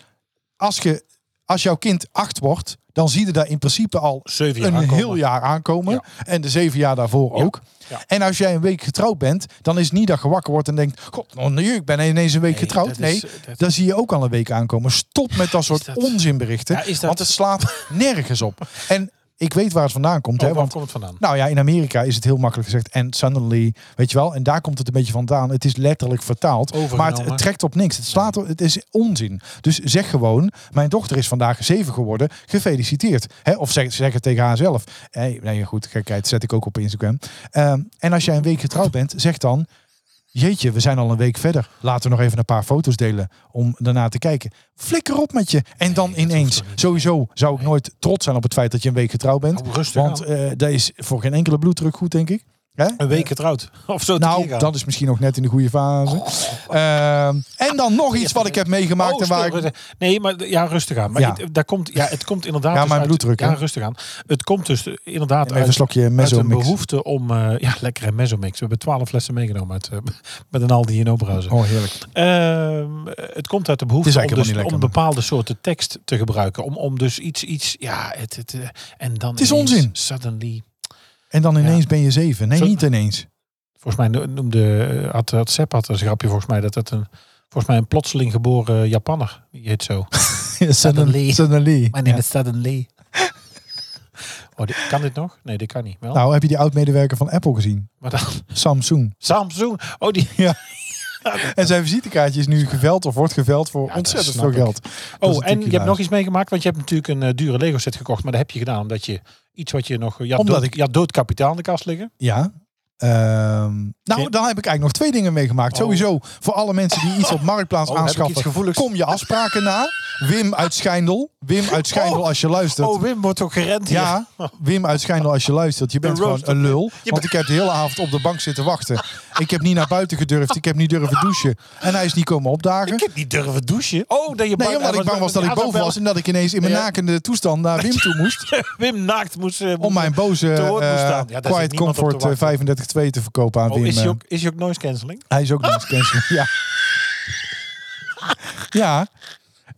Speaker 3: als, je, als jouw kind acht wordt... dan zie je daar in principe al
Speaker 2: Zeven jaar
Speaker 3: een
Speaker 2: aankomen.
Speaker 3: heel jaar aankomen.
Speaker 2: Ja.
Speaker 3: En de zeven jaar daarvoor
Speaker 2: Ja.
Speaker 3: ook.
Speaker 2: Ja.
Speaker 3: En als jij een week getrouwd bent... dan is het niet dat je wakker wordt en denkt... God, oh nee, ik ben ineens een week
Speaker 2: Nee,
Speaker 3: getrouwd.
Speaker 2: dat
Speaker 3: Nee,
Speaker 2: is- dat-
Speaker 3: daar zie je ook al een week aankomen. Stop met dat soort
Speaker 2: dat-
Speaker 3: onzinberichten.
Speaker 2: Ja, is dat-
Speaker 3: Want het slaat nergens op. En ik weet waar het vandaan komt.
Speaker 2: Oh,
Speaker 3: hè,
Speaker 2: waar
Speaker 3: want
Speaker 2: komt het vandaan?
Speaker 3: nou ja, in Amerika is het heel makkelijk gezegd. En suddenly, weet je wel. En daar komt het een beetje vandaan. Het is letterlijk vertaald. Maar het,
Speaker 2: Overgenomen.
Speaker 3: het trekt op niks. Het slaat op, het is onzin. Dus zeg gewoon, mijn dochter is vandaag zeven geworden. Gefeliciteerd. Hè? Of zeg, zeg het tegen haar zelf. Hey, nee, goed, gekheid zet ik ook op Instagram. Ehm, en als jij een week getrouwd bent, zeg dan... Jeetje, we zijn al een week verder. Laten we nog even een paar foto's delen om daarna te kijken. Flikker op met je. En dan
Speaker 2: dat hoeft
Speaker 3: ineens.
Speaker 2: toch niet?
Speaker 3: Sowieso zou ik nooit trots zijn op het feit dat je een week getrouwd bent.
Speaker 2: Oh, rustig
Speaker 3: Want
Speaker 2: aan.
Speaker 3: eh, dat is voor geen enkele bloeddruk goed, denk ik. Hè?
Speaker 2: Een week getrouwd. Of zo tekeer
Speaker 3: eh, Nou,
Speaker 2: gaan.
Speaker 3: dat is misschien nog net in de goede fase. Ehm, en dan nog iets wat ik heb meegemaakt.
Speaker 2: Oh,
Speaker 3: en waar
Speaker 2: stil,
Speaker 3: ik,
Speaker 2: rustig. Nee, maar d- ja, rustig aan. Maar
Speaker 3: Ja.
Speaker 2: Het, daar komt, ja, het komt inderdaad.
Speaker 3: Ja,
Speaker 2: dus
Speaker 3: mijn
Speaker 2: uit-
Speaker 3: bloeddruk, hè?
Speaker 2: Ja, rustig aan. Het komt dus eh, inderdaad
Speaker 3: even een
Speaker 2: uit,
Speaker 3: slokje
Speaker 2: uit
Speaker 3: meso
Speaker 2: een behoefte om. eh, ja, lekkere mezomix. We hebben twaalf flessen meegenomen uit, eh, met een Aldi in Oberhausen.
Speaker 3: Oh, heerlijk.
Speaker 2: Ehm, het komt uit de behoefte om, dus,
Speaker 3: eigenlijk helemaal
Speaker 2: om
Speaker 3: niet lekker,
Speaker 2: bepaalde soorten tekst te gebruiken. Om, om dus iets, iets, ja, het, het, eh, en dan het
Speaker 3: is onzin.
Speaker 2: Suddenly,
Speaker 3: En dan ineens
Speaker 2: Ja.
Speaker 3: ben je zeven. Nee,
Speaker 2: Zo-
Speaker 3: niet ineens.
Speaker 2: volgens mij no- noemde, eh, had, had Sepp had een grapje volgens mij, dat dat een, volgens mij een plotseling geboren Japanner, die heet zo. Suddenly.
Speaker 3: Suddenly. Ja.
Speaker 2: is Suddenly. oh, dit, kan dit nog? Nee, dit kan niet. Wel,
Speaker 3: Nou, heb je die oud-medewerker van Apple gezien?
Speaker 2: maar dan,
Speaker 3: Samsung.
Speaker 2: Samsung, oh die,
Speaker 3: En zijn visitekaartje is nu geveld of wordt geveld voor
Speaker 2: dat
Speaker 3: ontzettend
Speaker 2: snap
Speaker 3: veel
Speaker 2: ik.
Speaker 3: geld. Dat
Speaker 2: oh en
Speaker 3: is
Speaker 2: je hebt
Speaker 3: natuurlijk
Speaker 2: nog iets meegemaakt, want je hebt natuurlijk een eh, dure Lego set gekocht, maar dat heb je gedaan omdat je iets wat je nog, eh, je had,
Speaker 3: Omdat
Speaker 2: dood,
Speaker 3: ik-
Speaker 2: je had dood kapitaal in de kast liggen.
Speaker 3: Ja. Ehm, nou,
Speaker 2: Geen-
Speaker 3: dan heb ik eigenlijk nog twee dingen meegemaakt.
Speaker 2: Oh.
Speaker 3: Sowieso, voor alle mensen die iets op Marktplaats
Speaker 2: Oh, heb ik iets
Speaker 3: aanschaffen,
Speaker 2: gevoeligs?
Speaker 3: kom je afspraken na. Wim uit Schijndel. Wim uit Schijndel, als je luistert.
Speaker 2: Oh, Wim wordt ook gerend hier.
Speaker 3: Ja, Wim uit Schijndel, als je luistert. Je bent gewoon
Speaker 2: roast
Speaker 3: een lul. Want
Speaker 2: bent-
Speaker 3: ik heb de hele avond op de bank zitten wachten. Ik heb niet naar buiten gedurfd. Ik heb niet durven douchen. En hij is niet komen opdagen.
Speaker 2: Ik heb niet durven douchen. Oh, dat je
Speaker 3: Nee, omdat ik bang was dat ik boven was. En dat ik ineens in mijn
Speaker 2: Ja.
Speaker 3: nakende toestand naar Wim toe moest.
Speaker 2: Wim naakt moest... eh,
Speaker 3: Om mijn boze
Speaker 2: te woord moest
Speaker 3: eh,
Speaker 2: staan. Ja, daar zit
Speaker 3: Quiet
Speaker 2: niemand op
Speaker 3: Comfort
Speaker 2: te
Speaker 3: eh,
Speaker 2: wachten.
Speaker 3: 352 te verkopen aan Wim.
Speaker 2: Oh, is hij
Speaker 3: eh.
Speaker 2: ook, is hij ook noise cancelling?
Speaker 3: Hij is ook noise cancelling, ja. Ja,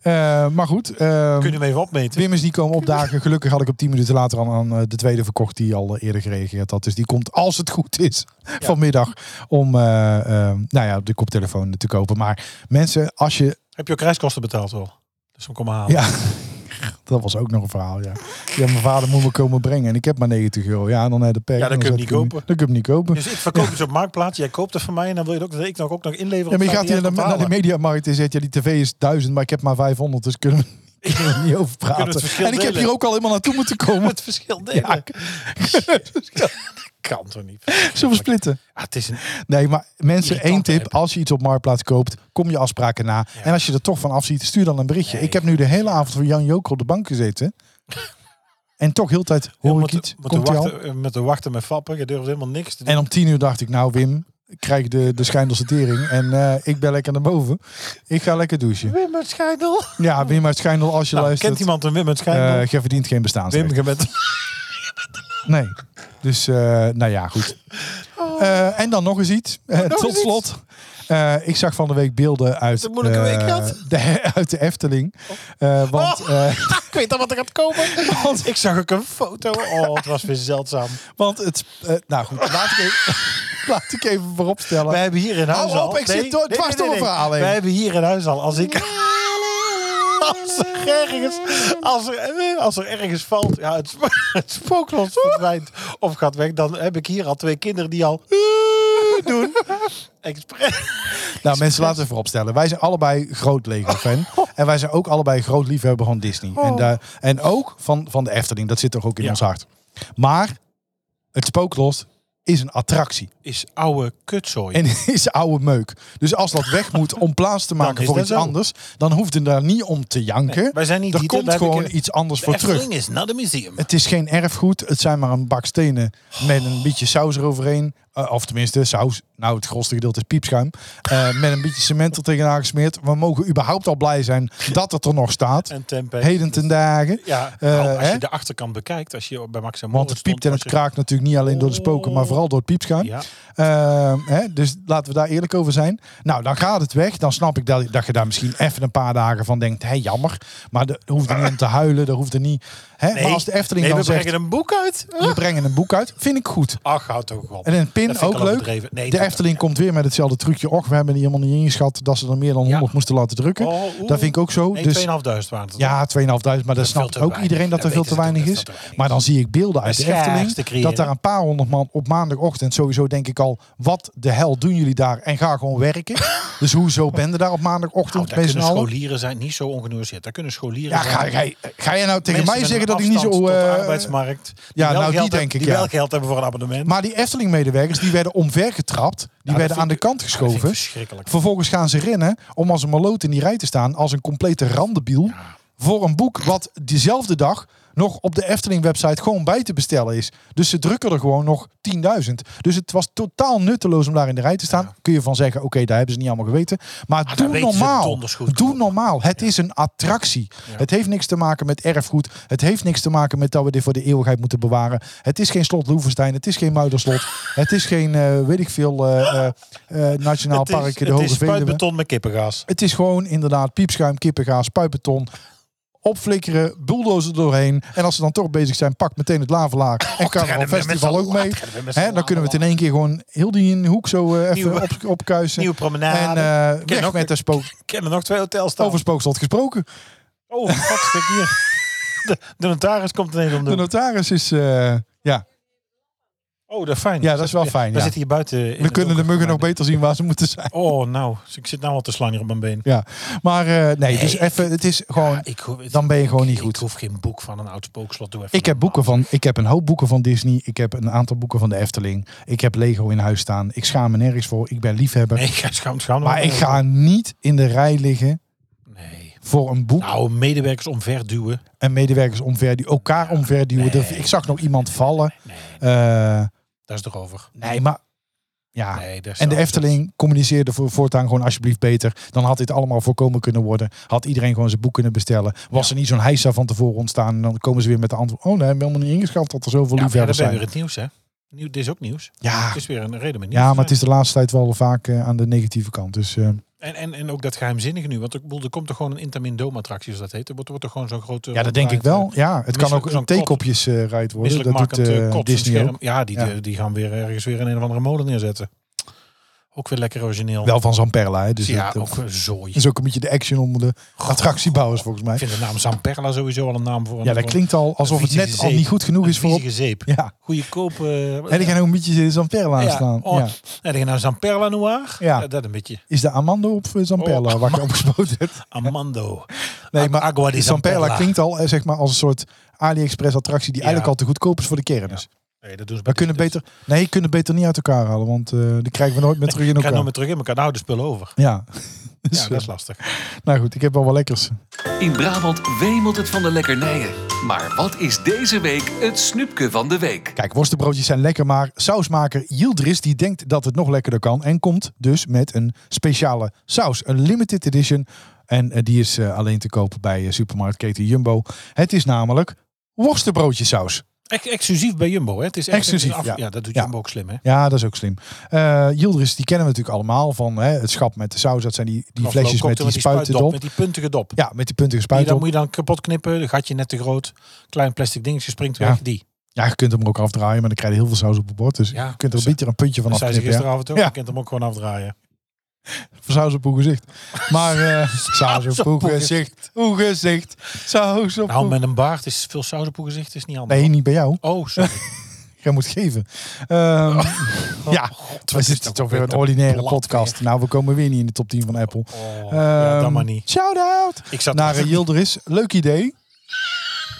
Speaker 3: Eh, maar goed. eh,
Speaker 2: Kun je hem even opmeten?
Speaker 3: Wim is niet komen opdagen. Gelukkig had ik op 10 minuten later aan, aan eh, de tweede verkocht die al eh, eerder gereageerd had. Dus die komt als het goed is vanmiddag om eh, eh, nou ja, de koptelefoon te kopen. Maar mensen, als je
Speaker 2: Heb je ook reiskosten betaald wel? Dus hem komen halen.
Speaker 3: ja, dat was ook nog een verhaal, ja. Ja, mijn vader moet me komen brengen en ik heb maar 90 euro. Ja, dan heb de pech.
Speaker 2: Ja, dan kun je hem
Speaker 3: zet
Speaker 2: niet
Speaker 3: ik hem
Speaker 2: kopen.
Speaker 3: Dan kun je hem niet kopen.
Speaker 2: Dus ik verkoop iets op Marktplaats. Jij koopt het van mij. En dan wil je ook dat ik nog ook nog inlever.
Speaker 3: Ja, maar je gaat hier naar, naar de mediamarkt en zegt, ja, die tv is 1000, maar ik heb maar 500, dus kunnen we, kunnen we niet over
Speaker 2: kunnen
Speaker 3: praten.
Speaker 2: het verschil
Speaker 3: En ik heb
Speaker 2: delen.
Speaker 3: hier ook al helemaal naartoe moeten komen.
Speaker 2: Het verschil delen.
Speaker 3: Ja.
Speaker 2: kan toch niet?
Speaker 3: Zullen we splitten?
Speaker 2: Ah, het is een...
Speaker 3: Nee, maar mensen, één
Speaker 2: Irritant
Speaker 3: tip.
Speaker 2: app.
Speaker 3: Als je iets op Marktplaats koopt, kom je afspraken na. En als je er toch van afziet, stuur dan een berichtje.
Speaker 2: Nee.
Speaker 3: Ik heb nu de hele avond voor Jan Joker op de bank gezeten. en toch heel de tijd hoor ik
Speaker 2: met,
Speaker 3: iets.
Speaker 2: met, de
Speaker 3: Komt hij al?
Speaker 2: wachten, eh, met de wachten met fappen. Je durft helemaal niks te doen.
Speaker 3: En om tien uur dacht ik, nou Wim, ik krijg de, de schijndelse tering. En eh, ik ben lekker naar boven. Ik ga lekker douchen.
Speaker 2: Wim uit Schijndel.
Speaker 3: Ja, Wim uit Schijndel, als je
Speaker 2: Nou,
Speaker 3: luistert.
Speaker 2: kent iemand een Wim uit Schijndel?
Speaker 3: eh, je verdient geen
Speaker 2: Wim,
Speaker 3: bestaansrecht.
Speaker 2: je bent...
Speaker 3: Nee. Dus, eh, nou ja, goed. Eh, en dan nog eens iets. Eh,
Speaker 2: Oh. nog
Speaker 3: tot
Speaker 2: eens
Speaker 3: slot. Eh, ik zag van de week beelden uit
Speaker 2: De moeilijke
Speaker 3: eh,
Speaker 2: week gehad.
Speaker 3: de, uit de Efteling. Eh, want, eh,
Speaker 2: ik weet al wat er gaat komen.
Speaker 3: want,
Speaker 2: Ik zag ook een foto. Oh, het was weer zeldzaam.
Speaker 3: want het... eh, nou goed, laat ik even, laat ik even vooropstellen.
Speaker 2: We hebben hier in huis
Speaker 3: Hou
Speaker 2: al...
Speaker 3: op, ik zit door- dwars door een verhaal heen.
Speaker 2: We hebben hier in huis al... Als ik... Als er ergens... Als er, eh, als er ergens valt... Ja, het, sp- het spookslot verdwijnt of gaat weg. Dan heb ik hier al twee kinderen die al... eh, doen. Expres.
Speaker 3: Nou, mensen, laten we vooropstellen. Wij zijn allebei groot Lego-fan.
Speaker 2: Oh.
Speaker 3: En wij zijn ook allebei groot liefhebber van Disney. En, daar, en ook van, van de Efteling. Dat zit toch ook in
Speaker 2: Ja.
Speaker 3: ons hart. Maar het spooklost is een attractie.
Speaker 2: Is oude kutzooi.
Speaker 3: En is oude meuk. Dus als dat weg moet om plaats te maken
Speaker 2: Dan is
Speaker 3: voor
Speaker 2: dat
Speaker 3: iets
Speaker 2: zo.
Speaker 3: anders... dan hoeft het daar niet om te janken.
Speaker 2: wij zijn niet
Speaker 3: er
Speaker 2: Dieter,
Speaker 3: komt
Speaker 2: daar heb ik
Speaker 3: gewoon
Speaker 2: een-
Speaker 3: iets anders voor terug.
Speaker 2: is naar de museum.
Speaker 3: Het is geen erfgoed. Het zijn maar een bak stenen met een beetje saus eroverheen. Eh, of tenminste, saus. Nou, het grootste gedeelte is piepschuim. Eh, met een beetje cement er tegenaan gesmeerd. We mogen überhaupt al blij zijn dat het er nog staat.
Speaker 2: En tempeh.
Speaker 3: Heden ten dagen.
Speaker 2: Ja,
Speaker 3: Eh,
Speaker 2: nou, als
Speaker 3: hè?
Speaker 2: je de achterkant bekijkt, als je bij Max en
Speaker 3: Want
Speaker 2: Moritz
Speaker 3: het
Speaker 2: Oh, stond,
Speaker 3: piept en
Speaker 2: was
Speaker 3: het
Speaker 2: je-
Speaker 3: kraakt natuurlijk niet alleen door de spoken, maar vooral door het piepschuim.
Speaker 2: Ja.
Speaker 3: Ehm, hè, dus laten we daar eerlijk over zijn. Nou, dan gaat het weg. Dan snap ik dat, dat je daar misschien even een paar dagen van denkt. Hé, jammer. Maar er hoeft er niet om te huilen. Er hoeft er niet. Hè? maar als de Efteling
Speaker 2: nee,
Speaker 3: dan
Speaker 2: we
Speaker 3: zegt, "Ah,
Speaker 2: brengen een boek uit.
Speaker 3: we brengen een boek uit, vind ik goed.
Speaker 2: Ach, houd toch op.
Speaker 3: En een pin
Speaker 2: Dat vind ik
Speaker 3: ook
Speaker 2: al
Speaker 3: leuk.
Speaker 2: overdreven. Nee,
Speaker 3: de
Speaker 2: dat-
Speaker 3: Efteling komt weer met hetzelfde trucje. Och, we hebben die helemaal niet ingeschat dat ze er meer dan 100 moesten laten drukken.
Speaker 2: Oh, oeh.
Speaker 3: dat vind ik ook zo.
Speaker 2: Nee,
Speaker 3: dus
Speaker 2: 2500 waren het. Nou,
Speaker 3: ja, 2.500, maar
Speaker 2: veel
Speaker 3: dat snapt
Speaker 2: te
Speaker 3: ook
Speaker 2: weinig.
Speaker 3: iedereen dat
Speaker 2: Dat
Speaker 3: er veel te
Speaker 2: weten ze
Speaker 3: weinig
Speaker 2: toch,
Speaker 3: is.
Speaker 2: dat is veel te weinig.
Speaker 3: Maar dan zie ik beelden uit de
Speaker 2: schaars te
Speaker 3: Efteling
Speaker 2: creëren.
Speaker 3: dat daar een paar honderd man op maandagochtend sowieso denk ik al wat de hel doen jullie daar en ga gewoon werken. dus hoezo ben je daar op
Speaker 2: Nou,
Speaker 3: maandagochtend
Speaker 2: daar
Speaker 3: met z'n
Speaker 2: kunnen
Speaker 3: allen?
Speaker 2: scholieren zijn niet zo ongenuanceerd. Daar kunnen scholieren
Speaker 3: Ja,
Speaker 2: zijn.
Speaker 3: ga, ga, ga jij nou
Speaker 2: Mensen
Speaker 3: tegen mij
Speaker 2: met
Speaker 3: zeggen
Speaker 2: een
Speaker 3: dat ik niet
Speaker 2: afstand
Speaker 3: zo...
Speaker 2: tot de
Speaker 3: eh,
Speaker 2: arbeidsmarkt.
Speaker 3: ja, nou, die
Speaker 2: geld
Speaker 3: denk
Speaker 2: hebben,
Speaker 3: ik,
Speaker 2: Die
Speaker 3: ja.
Speaker 2: wel geld hebben voor een abonnement.
Speaker 3: maar die Efteling-medewerkers die werden omvergetrapt. Die
Speaker 2: Nou, dat
Speaker 3: werden
Speaker 2: vind
Speaker 3: aan de
Speaker 2: ik-
Speaker 3: kant
Speaker 2: dat vind ik
Speaker 3: geschoven.
Speaker 2: verschrikkelijk.
Speaker 3: Vervolgens gaan ze rennen om als een maloot in die rij te staan. Als een complete randebiel. Voor een boek wat diezelfde dag nog op de Efteling website gewoon bij te bestellen is. Dus ze drukken er gewoon nog 10.000. Dus het was totaal nutteloos om daar in de rij te staan. Kun je van zeggen, oké, daar hebben ze niet allemaal geweten. Maar
Speaker 2: dat
Speaker 3: doe
Speaker 2: Ah, weten ze
Speaker 3: normaal.
Speaker 2: donders goed.
Speaker 3: Doe normaal. Het is een attractie. Het heeft niks te maken met erfgoed. Het heeft niks te maken met dat we dit voor de eeuwigheid moeten bewaren. Het is geen slot Loevestein. Het is geen Muiderslot. het is geen, eh, weet ik veel, eh, eh, eh, Nationaal
Speaker 2: Het is-
Speaker 3: Park de Hoge
Speaker 2: Het is
Speaker 3: Veluwe.
Speaker 2: spuitbeton met kippengaas.
Speaker 3: Het is gewoon inderdaad piepschuim, kippengaas, puibeton. Opflikkeren, bulldozen doorheen. En als ze dan toch bezig zijn, pak meteen het lavelaar. En
Speaker 2: gaan we
Speaker 3: Carnaval
Speaker 2: met
Speaker 3: Festival
Speaker 2: z'n
Speaker 3: ook
Speaker 2: allen-
Speaker 3: mee.
Speaker 2: wat gaan we met z'n
Speaker 3: Hè, dan
Speaker 2: allen
Speaker 3: kunnen we het in één keer gewoon heel die in de hoek zo eh, even
Speaker 2: Nieuwe-
Speaker 3: op, opkuisen.
Speaker 2: Nieuwe
Speaker 3: en
Speaker 2: promenade.
Speaker 3: eh,
Speaker 2: Ik ken
Speaker 3: weg
Speaker 2: ook-
Speaker 3: met de spook.
Speaker 2: Ik ken er nog twee hotels staan.
Speaker 3: Over spookslot gesproken.
Speaker 2: Oh, fuck, hier. De, de notaris komt ineens om de
Speaker 3: De
Speaker 2: hoek.
Speaker 3: notaris is... eh, ja,
Speaker 2: Oh, dat is fijn.
Speaker 3: Ja, dat is wel fijn,
Speaker 2: We
Speaker 3: ja.
Speaker 2: zitten hier buiten. in
Speaker 3: we
Speaker 2: het
Speaker 3: kunnen de
Speaker 2: donker.
Speaker 3: muggen nog beter zien waar ze moeten zijn.
Speaker 2: Oh, nou. dus Ik zit nou al te slaan hier op mijn been.
Speaker 3: Ja, maar eh, nee, dus
Speaker 2: Nee.
Speaker 3: even, het is gewoon...
Speaker 2: ik hoef-
Speaker 3: dan ben je gewoon
Speaker 2: ik-
Speaker 3: niet goed.
Speaker 2: Ik hoef geen boek van een oud spookslot. Doe even
Speaker 3: Ik heb boeken van, ik heb een hoop boeken van Disney. Ik heb een aantal boeken van de Efteling. Ik heb Lego in huis staan. Ik schaam me nergens voor. Ik ben liefhebber.
Speaker 2: Nee, ik ga schaam, schaam
Speaker 3: maar ik ga niet in de rij liggen
Speaker 2: Nee.
Speaker 3: voor een boek
Speaker 2: Nou, medewerkers omverduwen.
Speaker 3: en medewerkers omver die elkaar omverduwen. Er- Ik zag nog iemand vallen.
Speaker 2: Nee,
Speaker 3: Eh,
Speaker 2: daar is het over.
Speaker 3: nee, maar ja.
Speaker 2: Nee, daar is
Speaker 3: En de
Speaker 2: het
Speaker 3: Efteling communiceerde voor, voortaan gewoon alsjeblieft beter. Dan had dit allemaal voorkomen kunnen worden. Had iedereen gewoon zijn boek kunnen bestellen. Was er niet zo'n heisa van tevoren ontstaan. En dan komen ze weer met de antwoord. Oh nee, we hebben helemaal niet ingeschat dat er zoveel
Speaker 2: Ja, maar ja, dan
Speaker 3: liefhebbers
Speaker 2: ben je weer
Speaker 3: zijn.
Speaker 2: het nieuws, hè. Nieuw, dit is ook nieuws.
Speaker 3: Ja,
Speaker 2: Het eh, is weer een reden met nieuws.
Speaker 3: Ja, maar het is de laatste tijd wel vaak eh, aan de negatieve kant. Dus eh,
Speaker 2: En, en, en ook dat geheimzinnige nu. Want ik bedoel, er komt toch gewoon een Intamin Dome attractie, zoals dat heet. Er wordt, wordt er gewoon zo'n grote...
Speaker 3: ja, dat denk ik wel. Ja, het kan
Speaker 2: misselijk
Speaker 3: ook
Speaker 2: eh, zo'n
Speaker 3: een theekopjesrijd worden. Dat doet
Speaker 2: misselijkmakend
Speaker 3: eh,
Speaker 2: uh, kots en
Speaker 3: Disney
Speaker 2: scherm.
Speaker 3: ook.
Speaker 2: Ja, die,
Speaker 3: Ja.
Speaker 2: Die, die gaan weer ergens weer in een of andere molen neerzetten. Ook weer lekker origineel.
Speaker 3: Wel van Zamperla, hè. Dus
Speaker 2: ja,
Speaker 3: dat,
Speaker 2: ook een zooi.
Speaker 3: is ook een beetje de action onder de attractiebouwers volgens mij.
Speaker 2: Ik vind de naam Zamperla sowieso al een naam voor een...
Speaker 3: Ja, dat klinkt al alsof het net al niet goed genoeg is voor... op-
Speaker 2: Viezige zeep.
Speaker 3: Ja,
Speaker 2: Goeie koop. eh,
Speaker 3: en die gaan ook een beetje Zamperla aan
Speaker 2: ja.
Speaker 3: staan.
Speaker 2: Oh,
Speaker 3: Ja.
Speaker 2: En die gaan nou Zamperla Noir.
Speaker 3: Ja.
Speaker 2: Dat een beetje.
Speaker 3: Is de Amando op eh, Zamperla
Speaker 2: Oh,
Speaker 3: waar je opgespoten hebt?
Speaker 2: Amando.
Speaker 3: Nee, maar
Speaker 2: Agua di
Speaker 3: Zamperla
Speaker 2: Zamperla.
Speaker 3: klinkt al eh, zeg maar als een soort AliExpress attractie die
Speaker 2: Ja.
Speaker 3: eigenlijk al te goedkoop is voor de kermis.
Speaker 2: Nee, dat doen ze
Speaker 3: We kunnen beter, nee, je kunt het beter niet uit elkaar halen, want eh, die krijgen we nooit meer terug in
Speaker 2: Ik ga
Speaker 3: elkaar.
Speaker 2: nog maar terug in elkaar. Nou, de spullen over.
Speaker 3: Ja. Dus,
Speaker 2: Ja, dat is lastig.
Speaker 3: eh, nou goed, ik heb wel wat lekkers.
Speaker 1: In Brabant wemelt het van de lekkernijen. Maar wat is deze week het snoepje van de week?
Speaker 3: Kijk, worstenbroodjes zijn lekker, maar sausmaker Yildiz die denkt dat het nog lekkerder kan en komt dus met een speciale saus, een limited edition. En eh, die is eh, alleen te koop bij eh, supermarktketen Jumbo. Het is namelijk worstenbroodjesaus.
Speaker 2: Ex- exclusief bij Jumbo, hè? Het is echt
Speaker 3: Exclusief,
Speaker 2: een af-
Speaker 3: ja.
Speaker 2: dat doet
Speaker 3: Ja.
Speaker 2: Jumbo ook slim, hè?
Speaker 3: Ja, dat is ook slim. Eh Yildiz, die kennen we natuurlijk allemaal van hè, het schap met de saus. Dat zijn die, die
Speaker 2: Of
Speaker 3: flesjes
Speaker 2: cocktail
Speaker 3: met die spuiten
Speaker 2: Met
Speaker 3: erop.
Speaker 2: die puntige dop.
Speaker 3: Ja, met die puntige
Speaker 2: Die
Speaker 3: spuiten
Speaker 2: dan
Speaker 3: op.
Speaker 2: moet je dan kapot knippen, een gatje net te groot, klein plastic dingetje springt weg,
Speaker 3: Ja.
Speaker 2: die.
Speaker 3: Ja, je kunt hem ook afdraaien, maar dan krijg je heel veel saus op het bord. Dus
Speaker 2: Ja,
Speaker 3: je kunt er een
Speaker 2: ze-
Speaker 3: beetje een puntje van
Speaker 2: Dat zei ze
Speaker 3: afknippen. Ja.
Speaker 2: gisteravond ook,
Speaker 3: Ja.
Speaker 2: je kunt hem ook gewoon afdraaien.
Speaker 3: Van saus op uw gezicht. Maar eh saus op uw gezicht. Uw gezicht. Saus op
Speaker 2: Nou,
Speaker 3: uw...
Speaker 2: met een baard is veel saus op uw gezicht, is niet handig.
Speaker 3: Nee, niet bij jou.
Speaker 2: Oh, sorry.
Speaker 3: Jij moet geven. Ehm,
Speaker 2: Oh.
Speaker 3: ja, we zitten toch weer een ordinaire
Speaker 2: plat
Speaker 3: podcast. Nou, we komen weer niet in de top 10 van Apple.
Speaker 2: Oh, ja, dat
Speaker 3: Ehm,
Speaker 2: maar niet.
Speaker 3: Shout-out
Speaker 2: Ik zat
Speaker 3: naar eh, Yildiz. Leuk idee.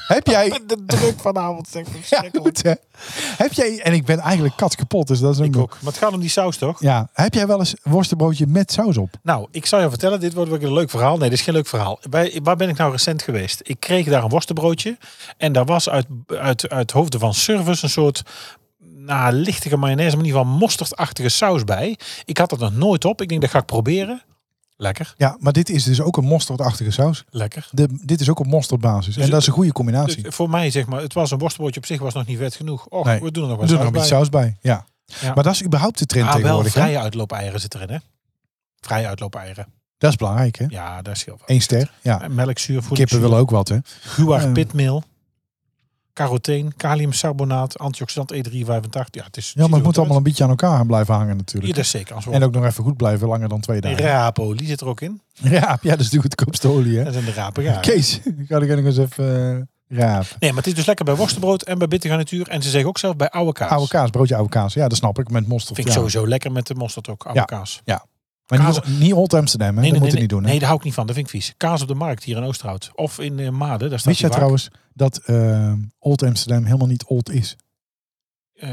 Speaker 3: Heb jij...
Speaker 2: de druk vanavond, zeg
Speaker 3: Ja, goed hè. Heb jij... En ik ben eigenlijk kat kapot, dus dat is ook
Speaker 2: Ik
Speaker 3: nog-
Speaker 2: ook. Maar het gaat om die saus, toch?
Speaker 3: Ja, heb jij wel eens worstenbroodje met saus op?
Speaker 2: Nou, ik zal je vertellen, dit wordt weer een leuk verhaal. Nee, dit is geen leuk verhaal. Bij, waar ben ik nou recent geweest? Ik kreeg daar een worstenbroodje. En daar was uit, uit, uit hoofden van service een soort nou, lichtige mayonaise, maar in ieder geval mosterdachtige saus bij. Ik had dat nog nooit op. Ik denk, dat ga ik proberen. Lekker,
Speaker 3: Ja, maar dit is dus ook een mosterdachtige saus.
Speaker 2: lekker.
Speaker 3: De, dit is ook op mosterdbasis. en
Speaker 2: het-
Speaker 3: dat is een goede
Speaker 2: Dus
Speaker 3: combinatie.
Speaker 2: voor mij, zeg maar, het was een worstenbroodje op zich, was nog niet vet genoeg. Och,
Speaker 3: Nee,
Speaker 2: we doen er nog
Speaker 3: We
Speaker 2: wat
Speaker 3: doen
Speaker 2: saus
Speaker 3: er nog een beetje
Speaker 2: bij.
Speaker 3: saus bij. Ja.
Speaker 2: Ja.
Speaker 3: Maar dat is überhaupt de trend
Speaker 2: Ah, wel
Speaker 3: tegenwoordig. hè?
Speaker 2: vrije uitloopeieren zitten erin, hè? Vrije uitloopeieren.
Speaker 3: Dat is belangrijk, hè?
Speaker 2: Ja, daar is heel wat.
Speaker 3: Eén ster. Ja.
Speaker 2: En Melkzuur,
Speaker 3: Kippen
Speaker 2: voedingszuur.
Speaker 3: willen ook wat, hè?
Speaker 2: Guar
Speaker 3: Eh.
Speaker 2: pitmeel. Caroteen, kaliumcarbonaat, antioxidant E385. Ja, het is.
Speaker 3: Ja, maar het
Speaker 2: ziet er
Speaker 3: moet allemaal
Speaker 2: wat
Speaker 3: een beetje aan elkaar gaan blijven hangen
Speaker 2: uit. Ja,
Speaker 3: natuurlijk.
Speaker 2: dat is zeker. Als we
Speaker 3: En ook nog even goed blijven, langer dan twee dagen. Ja,
Speaker 2: rapo, die zit er ook in.
Speaker 3: ja dat is natuurlijk goedkoopste olie, hè?
Speaker 2: Dat zijn de rapen. Ja.
Speaker 3: Kees, ga ik nog eens even eh, raap.
Speaker 2: Nee, maar het is dus lekker bij worstenbrood en bij bittergarnituur. En ze zeggen ook zelf bij oude kaas.
Speaker 3: Oude kaas, broodje oude kaas. Ja, dat snap ik. Met mosterd.
Speaker 2: Vind ik
Speaker 3: ja.
Speaker 2: sowieso lekker met de mosterd ook. Oude
Speaker 3: Ja.
Speaker 2: kaas.
Speaker 3: Maar niet, niet Old Amsterdam, hè? dat moet je
Speaker 2: nee,
Speaker 3: niet doen, hè?
Speaker 2: nee, daar hou ik niet van. Dat vind ik vies. Kaas op de markt hier in Oosterhout. Of in eh, Maden. Daar staat
Speaker 3: Wist je
Speaker 2: die vaak.
Speaker 3: trouwens dat eh, Old Amsterdam helemaal niet old is?
Speaker 2: Eh,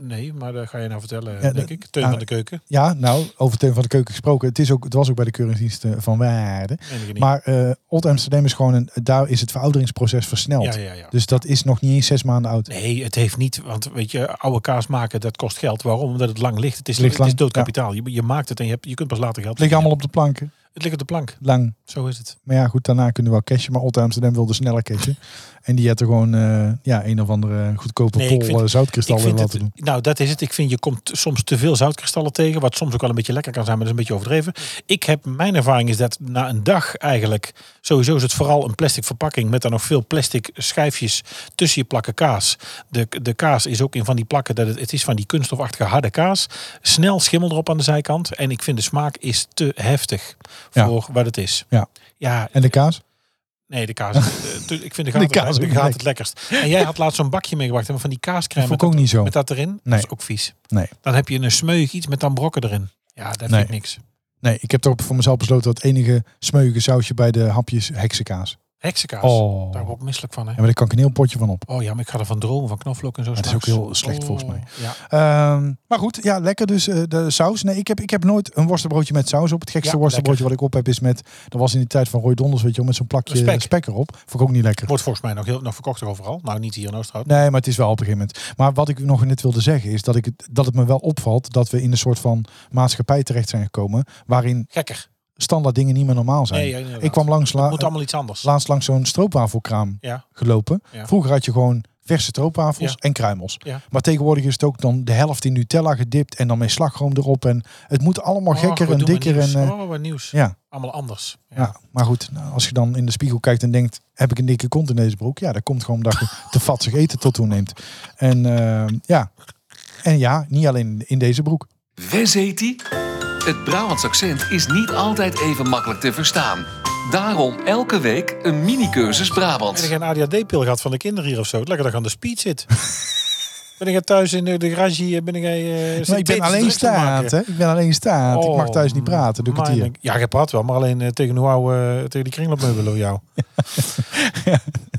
Speaker 2: nee, maar daar ga je nou vertellen,
Speaker 3: dat-
Speaker 2: denk ik. Teun
Speaker 3: nou,
Speaker 2: van de Keuken.
Speaker 3: Ja, nou, over Teun van de Keuken gesproken. Het, is ook, het was ook bij de keuringsdienst eh, van Waarde.
Speaker 2: Meen ik niet.
Speaker 3: Maar eh, Old Amsterdam is gewoon een, daar is het verouderingsproces versneld.
Speaker 2: ja, ja, ja.
Speaker 3: Dus dat is nog niet eens zes maanden oud.
Speaker 2: Nee, het heeft niet. Want weet je, oude kaas maken, dat kost geld. Waarom? Omdat het lang ligt. Het is,
Speaker 3: Ligt
Speaker 2: het is
Speaker 3: lang,
Speaker 2: doodkapitaal. Je, je maakt het en je, hebt, je kunt pas later geld
Speaker 3: Het ligt allemaal op de planken.
Speaker 2: Het ligt op de plank.
Speaker 3: Lang.
Speaker 2: Zo is het.
Speaker 3: Maar ja, goed, daarna kunnen we wel cashen. Maar Old Amsterdam wilde sneller cashen. en die had er gewoon eh, ja, een of andere goedkope
Speaker 2: Nee, ik
Speaker 3: kool,
Speaker 2: vind-
Speaker 3: eh, zoutkristallen
Speaker 2: ik
Speaker 3: in
Speaker 2: vind
Speaker 3: laten
Speaker 2: het,
Speaker 3: doen.
Speaker 2: nou, dat is het. Ik vind je komt soms te veel zoutkristallen tegen. Wat soms ook wel een beetje lekker kan zijn, maar dat is een beetje overdreven. Ik heb, mijn ervaring is dat na een dag eigenlijk. Sowieso is het vooral een plastic verpakking. Met dan nog veel plastic schijfjes tussen je plakken kaas. De, de kaas is ook in van die plakken. Dat het, het is van die kunststofachtige harde kaas. Snel schimmel erop aan de zijkant. En ik vind de smaak is te heftig
Speaker 3: Ja.
Speaker 2: voor wat het is.
Speaker 3: Ja.
Speaker 2: Ja,
Speaker 3: En de kaas?
Speaker 2: nee, de kaas. eh, tu- ik vind de gaten,
Speaker 3: De kaas
Speaker 2: de
Speaker 3: ook
Speaker 2: gaten
Speaker 3: lekker.
Speaker 2: het lekkerst. En jij had laatst zo'n bakje meegebracht hè, van die kaascrème.
Speaker 3: Vond ik ook niet zo.
Speaker 2: Met dat erin? Dat
Speaker 3: Oh. Nee.
Speaker 2: is ook vies.
Speaker 3: Nee.
Speaker 2: Dan heb je een smeuig iets met dan brokken erin. Ja, dat
Speaker 3: Nee.
Speaker 2: vind ik niks.
Speaker 3: Nee, ik heb toch voor mezelf besloten dat het enige smeuïge sausje bij de hapjes heksenkaas.
Speaker 2: Heksenkaas.
Speaker 3: Oh.
Speaker 2: Daar word ik misselijk van, hè.
Speaker 3: Ja, maar daar kan ik een heel potje van op.
Speaker 2: Oh ja, maar ik ga er van dromen, van knoflook en zo.
Speaker 3: het is
Speaker 2: straks. Oh,
Speaker 3: ook heel slecht volgens mij.
Speaker 2: Ja.
Speaker 3: Ehm, maar goed, ja, lekker dus eh, de saus. Nee, ik heb, ik heb nooit een worstenbroodje met saus op. Het gekste
Speaker 2: Ja,
Speaker 3: worstenbroodje wat ik op heb is met... Dat was in die tijd van Roy Donders, weet je wel, met zo'n plakje
Speaker 2: Spek.
Speaker 3: spek. erop. Vond ik ook niet lekker.
Speaker 2: Wordt volgens mij nog, heel, nog verkocht overal. Nou, niet hier in Oosterhout.
Speaker 3: Nee, maar het is wel op een gegeven moment. Maar wat ik nog net wilde zeggen is dat, ik, het- dat het me wel opvalt... dat we in een soort van maatschappij terecht zijn gekomen... waarin
Speaker 2: Gekker.
Speaker 3: standaard dingen niet meer normaal zijn.
Speaker 2: Nee, ja, inderdaad.
Speaker 3: ik kwam langs, la-
Speaker 2: Moet allemaal iets anders.
Speaker 3: laatst langs zo'n stroopwafelkraam
Speaker 2: Ja.
Speaker 3: gelopen.
Speaker 2: Ja.
Speaker 3: Vroeger had je gewoon verse stroopwafels
Speaker 2: Ja.
Speaker 3: en kruimels.
Speaker 2: Ja.
Speaker 3: Maar tegenwoordig is het ook dan de helft in Nutella gedipt en dan met slagroom erop. En het moet allemaal
Speaker 2: Och,
Speaker 3: gekker
Speaker 2: wat
Speaker 3: en
Speaker 2: doen Oh, we
Speaker 3: dikker. En,
Speaker 2: nieuws.
Speaker 3: eh,
Speaker 2: oh, wat nieuws.
Speaker 3: ja.
Speaker 2: Allemaal anders. Ja.
Speaker 3: Ja. maar goed, nou, als je dan in de spiegel kijkt en denkt, heb ik een dikke kont in deze broek? Ja, dat komt gewoon omdat je te vatsig eten tot toeneemt. En eh, ja. En ja, niet alleen in deze broek.
Speaker 1: Wes heet die? Het Brabants accent is niet altijd even makkelijk te verstaan. Daarom elke week een mini-cursus
Speaker 2: Heb je
Speaker 1: Brabants.
Speaker 2: geen ADHD-pil gehad van de kinderen hier of zo? Lekker dat ik aan de speed zit. ben ik er thuis in de, de garage hier? Ben ik, eh, zit
Speaker 3: Maar ik ben
Speaker 2: dit druk
Speaker 3: alleen
Speaker 2: te maken?
Speaker 3: staat, hè? Ik ben alleen staat. ik mag
Speaker 2: Oh,
Speaker 3: thuis niet praten, doe ik het
Speaker 2: mijn-
Speaker 3: hier.
Speaker 2: Ja, je praat wel, maar alleen eh, tegen, hoe oude, eh, tegen die kringloopmeubel door jou.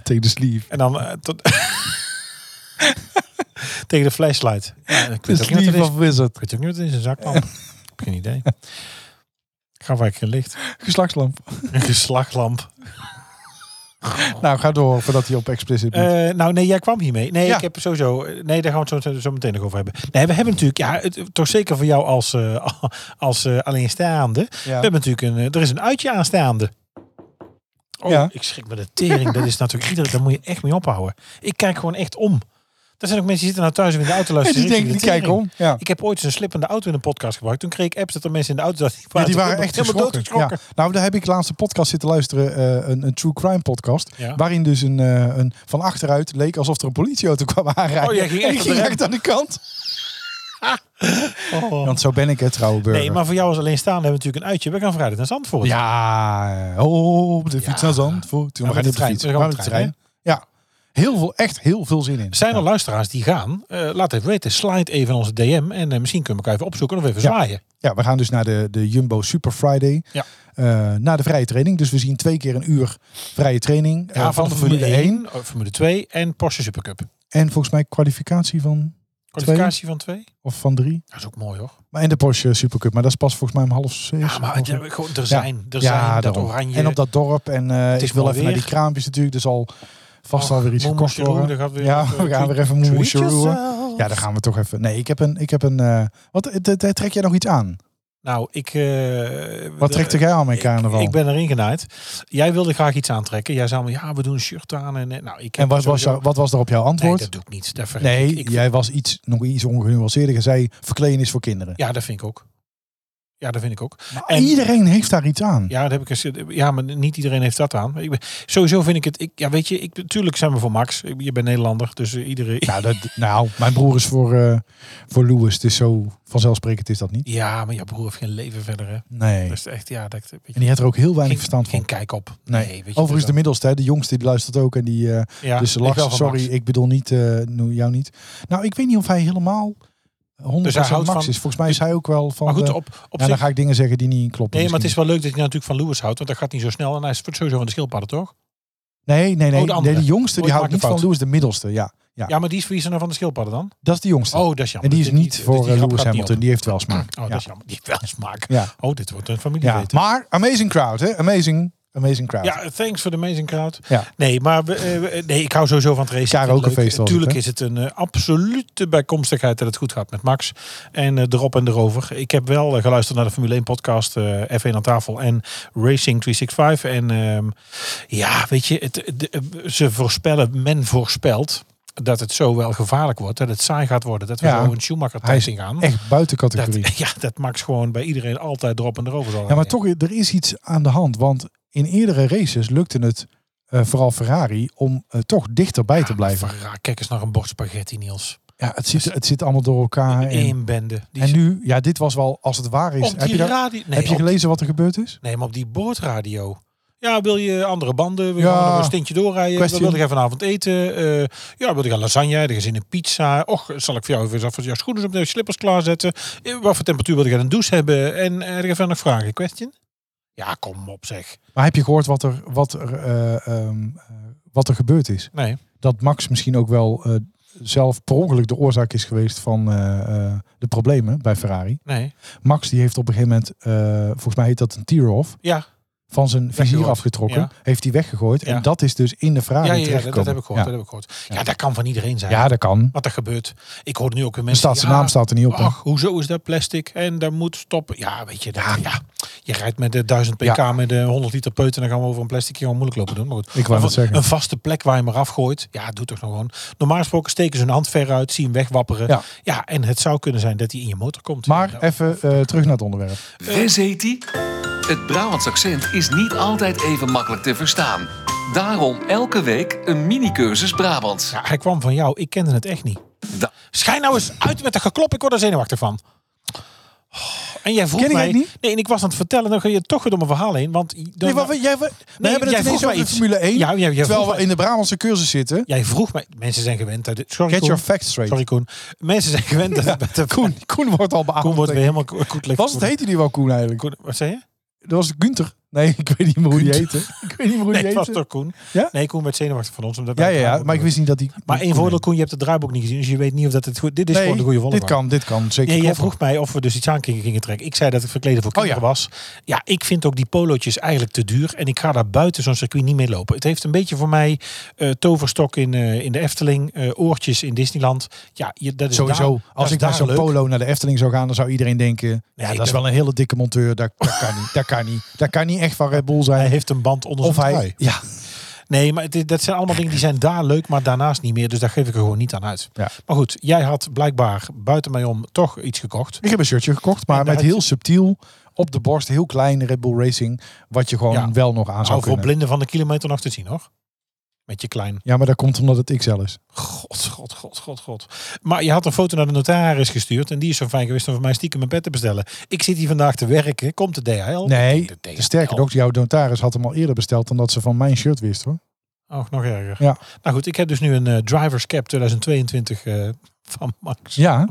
Speaker 3: Tegen de sleeve.
Speaker 2: En dan eh, tot... tegen de flashlight. Ja, ik
Speaker 3: De
Speaker 2: weet ook niet wat het
Speaker 3: sleeve
Speaker 2: is.
Speaker 3: of wizard.
Speaker 2: Ik weet ook niet wat het is, een zaklamp. Ik heb geen idee. Ik ga vaak geen licht.
Speaker 3: Geslachtslamp.
Speaker 2: Een geslaglamp.
Speaker 3: Nou, ga door voordat hij op explicit moet.
Speaker 2: Eh, nou, nee, jij kwam hiermee. Nee,
Speaker 3: Ja.
Speaker 2: ik heb sowieso. eh, Nee, daar gaan we het zo, zo meteen nog over hebben. Nee, we hebben natuurlijk, ja, het, toch zeker voor jou als, eh, als eh, alleenstaande.
Speaker 3: Ja.
Speaker 2: We hebben natuurlijk een. eh, Er is een uitje aanstaande. Oh,
Speaker 3: Ja.
Speaker 2: ik schrik me de tering. Dat is natuurlijk iedereen. Daar moet je echt mee ophouden. Ik kijk gewoon echt om. Er zijn ook mensen die zitten nou thuis of in de auto
Speaker 3: En
Speaker 2: luisteren.
Speaker 3: die denken,
Speaker 2: schrikken
Speaker 3: die
Speaker 2: de tering.
Speaker 3: kijken om. Ja.
Speaker 2: Ik heb ooit eens een slippende auto in een podcast gebruikt. Toen kreeg ik apps dat er mensen in de auto zaten.
Speaker 3: Ja, die waren echt
Speaker 2: helemaal
Speaker 3: geschrokken. Ja. Nou, daar heb ik laatste podcast zitten luisteren, eh, een, een true crime podcast,
Speaker 2: Ja.
Speaker 3: waarin dus een, eh, een van achteruit leek alsof er een politieauto kwam aanrijden.
Speaker 2: Oh, jij ging
Speaker 3: En
Speaker 2: echt
Speaker 3: ik
Speaker 2: op
Speaker 3: ging
Speaker 2: de rem.
Speaker 3: echt aan de kant.
Speaker 2: Oh.
Speaker 3: Want zo ben ik het, trouwe burger.
Speaker 2: Nee, maar voor jou als alleenstaande hebben we natuurlijk een uitje. We gaan vrijdag naar Zandvoort.
Speaker 3: Ja, oh, op de fiets
Speaker 2: Ja.
Speaker 3: naar Zandvoort. We
Speaker 2: Ja, met
Speaker 3: gaan niet op
Speaker 2: de
Speaker 3: de
Speaker 2: trein.
Speaker 3: fiets,
Speaker 2: We gaan
Speaker 3: maar
Speaker 2: met
Speaker 3: met
Speaker 2: de
Speaker 3: de
Speaker 2: trein,
Speaker 3: Ja, heel veel, echt heel veel zin in.
Speaker 2: Zijn er luisteraars die gaan? Eh, laat even weten. Slide even onze DM. En eh, misschien kunnen we elkaar even opzoeken of even
Speaker 3: Ja.
Speaker 2: zwaaien.
Speaker 3: Ja, we gaan dus naar de, de Jumbo Super Friday.
Speaker 2: Ja.
Speaker 3: Eh, naar de vrije training. Dus we zien twee keer een uur vrije training eh, van, de Formule 1.
Speaker 2: eh, Formule 2 en Porsche Supercup.
Speaker 3: En volgens mij kwalificatie van,
Speaker 2: Kwalificatie van 2?
Speaker 3: of van drie.
Speaker 2: Dat is ook mooi hoor.
Speaker 3: Maar en de Porsche Supercup. Maar dat is pas volgens mij om half zes.
Speaker 2: Ja, maar
Speaker 3: Of-
Speaker 2: het- ja, gewoon, er zijn. Er
Speaker 3: Ja,
Speaker 2: zijn dat
Speaker 3: daarom.
Speaker 2: oranje.
Speaker 3: En op dat dorp. En eh,
Speaker 2: is
Speaker 3: ik wil
Speaker 2: mooi
Speaker 3: even naar
Speaker 2: weer.
Speaker 3: die kraampjes natuurlijk. Dus al vast
Speaker 2: Och,
Speaker 3: alweer iets
Speaker 2: Moe
Speaker 3: gekocht
Speaker 2: Moe Cheroe,
Speaker 3: worden.
Speaker 2: Oh, daar gaat weer- eh,
Speaker 3: Ja, we gaan weer even moe
Speaker 2: Treat
Speaker 3: moesjeroeën.
Speaker 2: yourself.
Speaker 3: Ja, daar gaan we toch even. Nee, ik heb een. Ik heb een eh, wat eh, eh, trek jij nog iets aan?
Speaker 2: Nou, ik... eh,
Speaker 3: Wat trekt jij aan mijn carnaval?
Speaker 2: Ik, ik ben erin genaaid. Jij wilde graag iets aantrekken. Jij zei me, ja, we doen een shirt aan. En, eh, nou, ik heb
Speaker 3: en wat was,
Speaker 2: sowieso-
Speaker 3: jou- wat was er op jouw
Speaker 2: Nee,
Speaker 3: antwoord?
Speaker 2: dat doe ik niet. Dat vergeet
Speaker 3: Nee,
Speaker 2: ik. Ik-
Speaker 3: jij was iets, nog iets ongenuanceerder. Je zei verkleden is voor kinderen.
Speaker 2: Ja, dat vind ik ook. Ja, dat vind ik ook.
Speaker 3: Maar
Speaker 2: en-
Speaker 3: iedereen heeft daar iets aan.
Speaker 2: Ja, dat heb ik eens, ja, maar niet iedereen heeft dat aan. Ik ben, sowieso vind ik het. Ik, ja, weet je, ik, natuurlijk zijn we voor Max. Ik- Je bent Nederlander, dus eh, iedereen.
Speaker 3: Nou, dat, nou, mijn broer is voor, eh voor Louis. Dus zo vanzelfsprekend is dat niet.
Speaker 2: Ja, maar jouw broer heeft geen leven verder. Hè.
Speaker 3: Nee.
Speaker 2: Dat is Dus echt, ja, dat weet je,
Speaker 3: En die heeft er ook heel weinig
Speaker 2: geen,
Speaker 3: verstand van.
Speaker 2: geen kijk op.
Speaker 3: Nee.
Speaker 2: weet je,
Speaker 3: Overigens de
Speaker 2: dus
Speaker 3: middelste, hè, de jongste, die luistert ook. En die, eh,
Speaker 2: dat- ja,
Speaker 3: dus ze
Speaker 2: ik wel
Speaker 3: lacht,
Speaker 2: van
Speaker 3: sorry,
Speaker 2: Max.
Speaker 3: ik bedoel niet, eh, no- jou niet. Nou, ik weet niet of hij helemaal 100%
Speaker 2: Dus hij houdt
Speaker 3: max
Speaker 2: van-
Speaker 3: is. Volgens mij is hij ook wel van...
Speaker 2: Maar goed,
Speaker 3: de-
Speaker 2: op, op
Speaker 3: eh, ja, dan
Speaker 2: zich.
Speaker 3: ga ik dingen zeggen die niet kloppen.
Speaker 2: Nee, maar het is
Speaker 3: misschien.
Speaker 2: wel leuk dat je nou natuurlijk van Lewis houdt, want dat gaat niet zo snel. En hij is sowieso van de schildpadden, toch?
Speaker 3: Nee, nee, nee.
Speaker 2: Oh, de
Speaker 3: nee
Speaker 2: andere.
Speaker 3: de jongste
Speaker 2: Oh,
Speaker 3: die
Speaker 2: ik
Speaker 3: houdt
Speaker 2: maak
Speaker 3: niet
Speaker 2: de
Speaker 3: van
Speaker 2: fout.
Speaker 3: Louis, de middelste. Ja, ja.
Speaker 2: Ja, maar die is, wie is er nou van de schildpadden dan?
Speaker 3: dat is de jongste.
Speaker 2: Oh, dat is jammer.
Speaker 3: en die is
Speaker 2: Dus
Speaker 3: niet
Speaker 2: dus
Speaker 3: voor
Speaker 2: die
Speaker 3: eh,
Speaker 2: grap gaat
Speaker 3: Lewis
Speaker 2: niet
Speaker 3: Hamilton.
Speaker 2: op.
Speaker 3: Die heeft wel smaak.
Speaker 2: Oh,
Speaker 3: ja.
Speaker 2: dat is jammer. Die heeft wel smaak.
Speaker 3: Ja.
Speaker 2: Oh, dit wordt een
Speaker 3: Ja.
Speaker 2: familieweten.
Speaker 3: Maar amazing crowd, hè? Amazing, amazing crowd.
Speaker 2: Ja, thanks voor de amazing crowd.
Speaker 3: Ja.
Speaker 2: Nee, maar we, eh, we- nee, ik hou sowieso van het racen.
Speaker 3: Karaoke
Speaker 2: Ik vind het leuk.
Speaker 3: feest was het,
Speaker 2: Tuurlijk
Speaker 3: hè?
Speaker 2: is het een eh, absolute bijkomstigheid dat het goed gaat met Max. En eh, erop en erover. Ik heb wel eh, geluisterd naar de Formule 1 podcast eh, F1 aan tafel en Racing 365. En ehm, ja, weet je, het, de- eh, ze voorspellen, men voorspelt dat het zo wel gevaarlijk wordt. Dat het saai gaat worden. Dat we
Speaker 3: Ja.
Speaker 2: zo een Schumacher
Speaker 3: Hij is
Speaker 2: tijd gaan.
Speaker 3: Echt buiten categorie.
Speaker 2: Dat, ja, dat Max gewoon bij iedereen altijd erop en erover zal
Speaker 3: Ja, maar
Speaker 2: rijden.
Speaker 3: toch, er is iets aan de hand. Want in eerdere races lukte het eh, vooral Ferrari om eh, toch dichterbij te
Speaker 2: Ja, Dus
Speaker 3: blijven.
Speaker 2: maar verra- Kijk eens naar een bord spaghetti, Niels.
Speaker 3: Ja, het zit, het zit allemaal door elkaar. Ah, En,
Speaker 2: Eén bende. Die
Speaker 3: en nu, ja, dit was wel, als het waar is.
Speaker 2: op
Speaker 3: heb,
Speaker 2: die
Speaker 3: je daar-
Speaker 2: radio. Nee,
Speaker 3: heb je
Speaker 2: op-
Speaker 3: gelezen wat er gebeurd is?
Speaker 2: nee, maar op die boordradio. Ja, wil je andere banden? Wil je
Speaker 3: Ja.
Speaker 2: gewoon nog een stintje doorrijden?
Speaker 3: Question.
Speaker 2: Wil je gaan vanavond eten? Eh, ja, wil je gaan lasagne? Heb je zin in pizza? Och, zal ik voor jou even eens af jouw schoenen op de slippers klaarzetten? Eh, Wat voor temperatuur wil je gaan een douche hebben? En eh, heb je verder nog vragen? Question? Ja, kom op zeg.
Speaker 3: Maar heb je gehoord wat er, wat er, eh, ehm, eh, wat er gebeurd is?
Speaker 2: Nee.
Speaker 3: Dat Max misschien ook wel eh, zelf per ongeluk de oorzaak is geweest van eh, eh, de problemen bij Ferrari.
Speaker 2: Nee.
Speaker 3: Max die heeft op een gegeven moment, eh, volgens mij heet dat een tear-off,
Speaker 2: Ja,
Speaker 3: van zijn vizier
Speaker 2: Weggegooid.
Speaker 3: afgetrokken.
Speaker 2: Ja.
Speaker 3: Heeft hij weggegooid.
Speaker 2: Ja.
Speaker 3: En dat is dus in de Ferrari
Speaker 2: ja, ja, ja, dat,
Speaker 3: terechtgekomen.
Speaker 2: dat heb ik gehoord.
Speaker 3: Ja.
Speaker 2: Dat heb ik gehoord. Ja, dat kan van iedereen zijn.
Speaker 3: Ja, dat kan.
Speaker 2: Wat er gebeurt. Ik hoor nu ook weer
Speaker 3: Er
Speaker 2: mensen.
Speaker 3: staat, zijn
Speaker 2: ja,
Speaker 3: naam staat er niet op. hè?
Speaker 2: Ach, hoezo is dat plastic? En daar moet stoppen. Ja, weet je, dat, ja. je rijdt met de 1000 pk
Speaker 3: Ja.
Speaker 2: met de 100 liter peut en dan gaan we over een plastic hier gewoon moeilijk lopen doen. Maar goed,
Speaker 3: Ik wou
Speaker 2: Maar
Speaker 3: net zeggen.
Speaker 2: een vaste plek waar je hem eraf gooit. Ja, doe toch nog gewoon. Normaal gesproken steken ze hun hand ver uit, zien hem wegwapperen.
Speaker 3: Ja.
Speaker 2: Ja. en het zou kunnen zijn dat hij in je motor komt.
Speaker 3: Maar
Speaker 2: Ja,
Speaker 3: even eh, terug naar het onderwerp.
Speaker 1: Wes heet die? Het Brabants accent is niet altijd even makkelijk te verstaan. Daarom elke week een mini-cursus Brabants.
Speaker 2: ja, hij kwam van jou, ik kende het echt niet.
Speaker 1: Da-
Speaker 2: Schijn nou eens uit met dat geklop, ik word er zenuwachtig van. Oh, En jij vroeg
Speaker 3: Ken ik
Speaker 2: mij...
Speaker 3: het niet?
Speaker 2: Nee, en ik was aan het vertellen, dan ga je toch weer door mijn verhaal heen. Want
Speaker 3: Nee, wat, jij, we
Speaker 2: Nee,
Speaker 3: hebben
Speaker 2: jij
Speaker 3: het
Speaker 2: vroeg
Speaker 3: ineens
Speaker 2: mij
Speaker 3: over de
Speaker 2: iets.
Speaker 3: Formule 1.
Speaker 2: Ja, ja, jij vroeg
Speaker 3: terwijl
Speaker 2: mij-
Speaker 3: we in de Brabantse cursus zitten.
Speaker 2: Jij vroeg mij... Mensen zijn gewend uit... het- Sorry,
Speaker 3: Get
Speaker 2: Koen.
Speaker 3: your facts straight.
Speaker 2: Sorry Koen. Mensen zijn gewend dat het met de
Speaker 3: Koen, Koen wordt al beaamd.
Speaker 2: Koen wordt weer helemaal ko- goed licht.
Speaker 3: Was het heette die wel Koen eigenlijk?
Speaker 2: Koen, wat zei je?
Speaker 3: Dat was Gunther. Nee, ik weet niet meer hoe die heette. Ik weet niet meer hoe die
Speaker 2: Nee, het was
Speaker 3: heette.
Speaker 2: toch Koen?
Speaker 3: Ja?
Speaker 2: Nee, Koen werd zenuwachtig van ons. Omdat
Speaker 3: Ja,
Speaker 2: wij
Speaker 3: ja,
Speaker 2: het
Speaker 3: ja,
Speaker 2: draaiboek
Speaker 3: maar ik
Speaker 2: hadden.
Speaker 3: wist niet dat die...
Speaker 2: Maar één voordeel, Koen, je hebt het draaiboek niet gezien. Dus je weet niet of dat het goed Dit is
Speaker 3: Nee,
Speaker 2: gewoon de goede
Speaker 3: dit
Speaker 2: volgorde.
Speaker 3: kan, dit kan zeker
Speaker 2: Ja, jij
Speaker 3: kloppen.
Speaker 2: vroeg mij of we dus iets aan gingen gingen trekken. Ik zei dat het verkleden voor
Speaker 3: Oh,
Speaker 2: kinderen was. Ja, ik vind ook die polootjes eigenlijk te duur. En ik ga daar buiten zo'n circuit niet mee lopen. Het heeft een beetje voor mij eh, toverstok in, eh, in de Efteling. eh, oortjes in Disneyland. Ja, je, dat is
Speaker 3: Sowieso,
Speaker 2: Dus daar- dat
Speaker 3: als
Speaker 2: is
Speaker 3: ik naar
Speaker 2: daar
Speaker 3: zo'n
Speaker 2: leuk.
Speaker 3: polo naar de Efteling zou gaan, dan zou iedereen denken... ja,
Speaker 2: ik
Speaker 3: dat is
Speaker 2: ben-
Speaker 3: wel een hele dikke monteur. Dat, dat kan niet. Dat kan niet. Dat kan niet echt van Red Bull
Speaker 2: Hij
Speaker 3: zijn.
Speaker 2: heeft een band onder
Speaker 3: Of
Speaker 2: zijn
Speaker 3: hij...
Speaker 2: trui.
Speaker 3: Ja,
Speaker 2: Nee, maar het is- dat zijn allemaal dingen die zijn daar leuk, maar daarnaast niet meer. Dus daar geef ik er gewoon niet aan uit.
Speaker 3: Ja.
Speaker 2: Maar goed, jij had blijkbaar buiten mij om toch iets gekocht.
Speaker 3: ik heb een shirtje gekocht, maar
Speaker 2: En daar had
Speaker 3: met
Speaker 2: je-
Speaker 3: heel subtiel... Op de borst, heel klein Red Bull Racing. Wat je gewoon
Speaker 2: Ja.
Speaker 3: wel nog aan zou
Speaker 2: Nou, voor
Speaker 3: kunnen.
Speaker 2: blinden van de kilometer nog te zien hoor. Met je klein.
Speaker 3: Ja, maar dat komt omdat het XL is.
Speaker 2: God, god, god, god, god. Maar je had een foto naar de notaris gestuurd. En die is zo fijn geweest om voor mij stiekem mijn bed te bestellen. Ik zit hier vandaag te werken. Komt de DHL?
Speaker 3: Nee,
Speaker 2: de DHL.
Speaker 3: sterker nog, jouw notaris had hem al eerder besteld dan dat ze van mijn shirt wist hoor.
Speaker 2: Och, nog erger.
Speaker 3: Ja.
Speaker 2: Nou goed, ik heb dus nu een eh, Drivers Cap 2022 eh, van Max.
Speaker 3: Ja,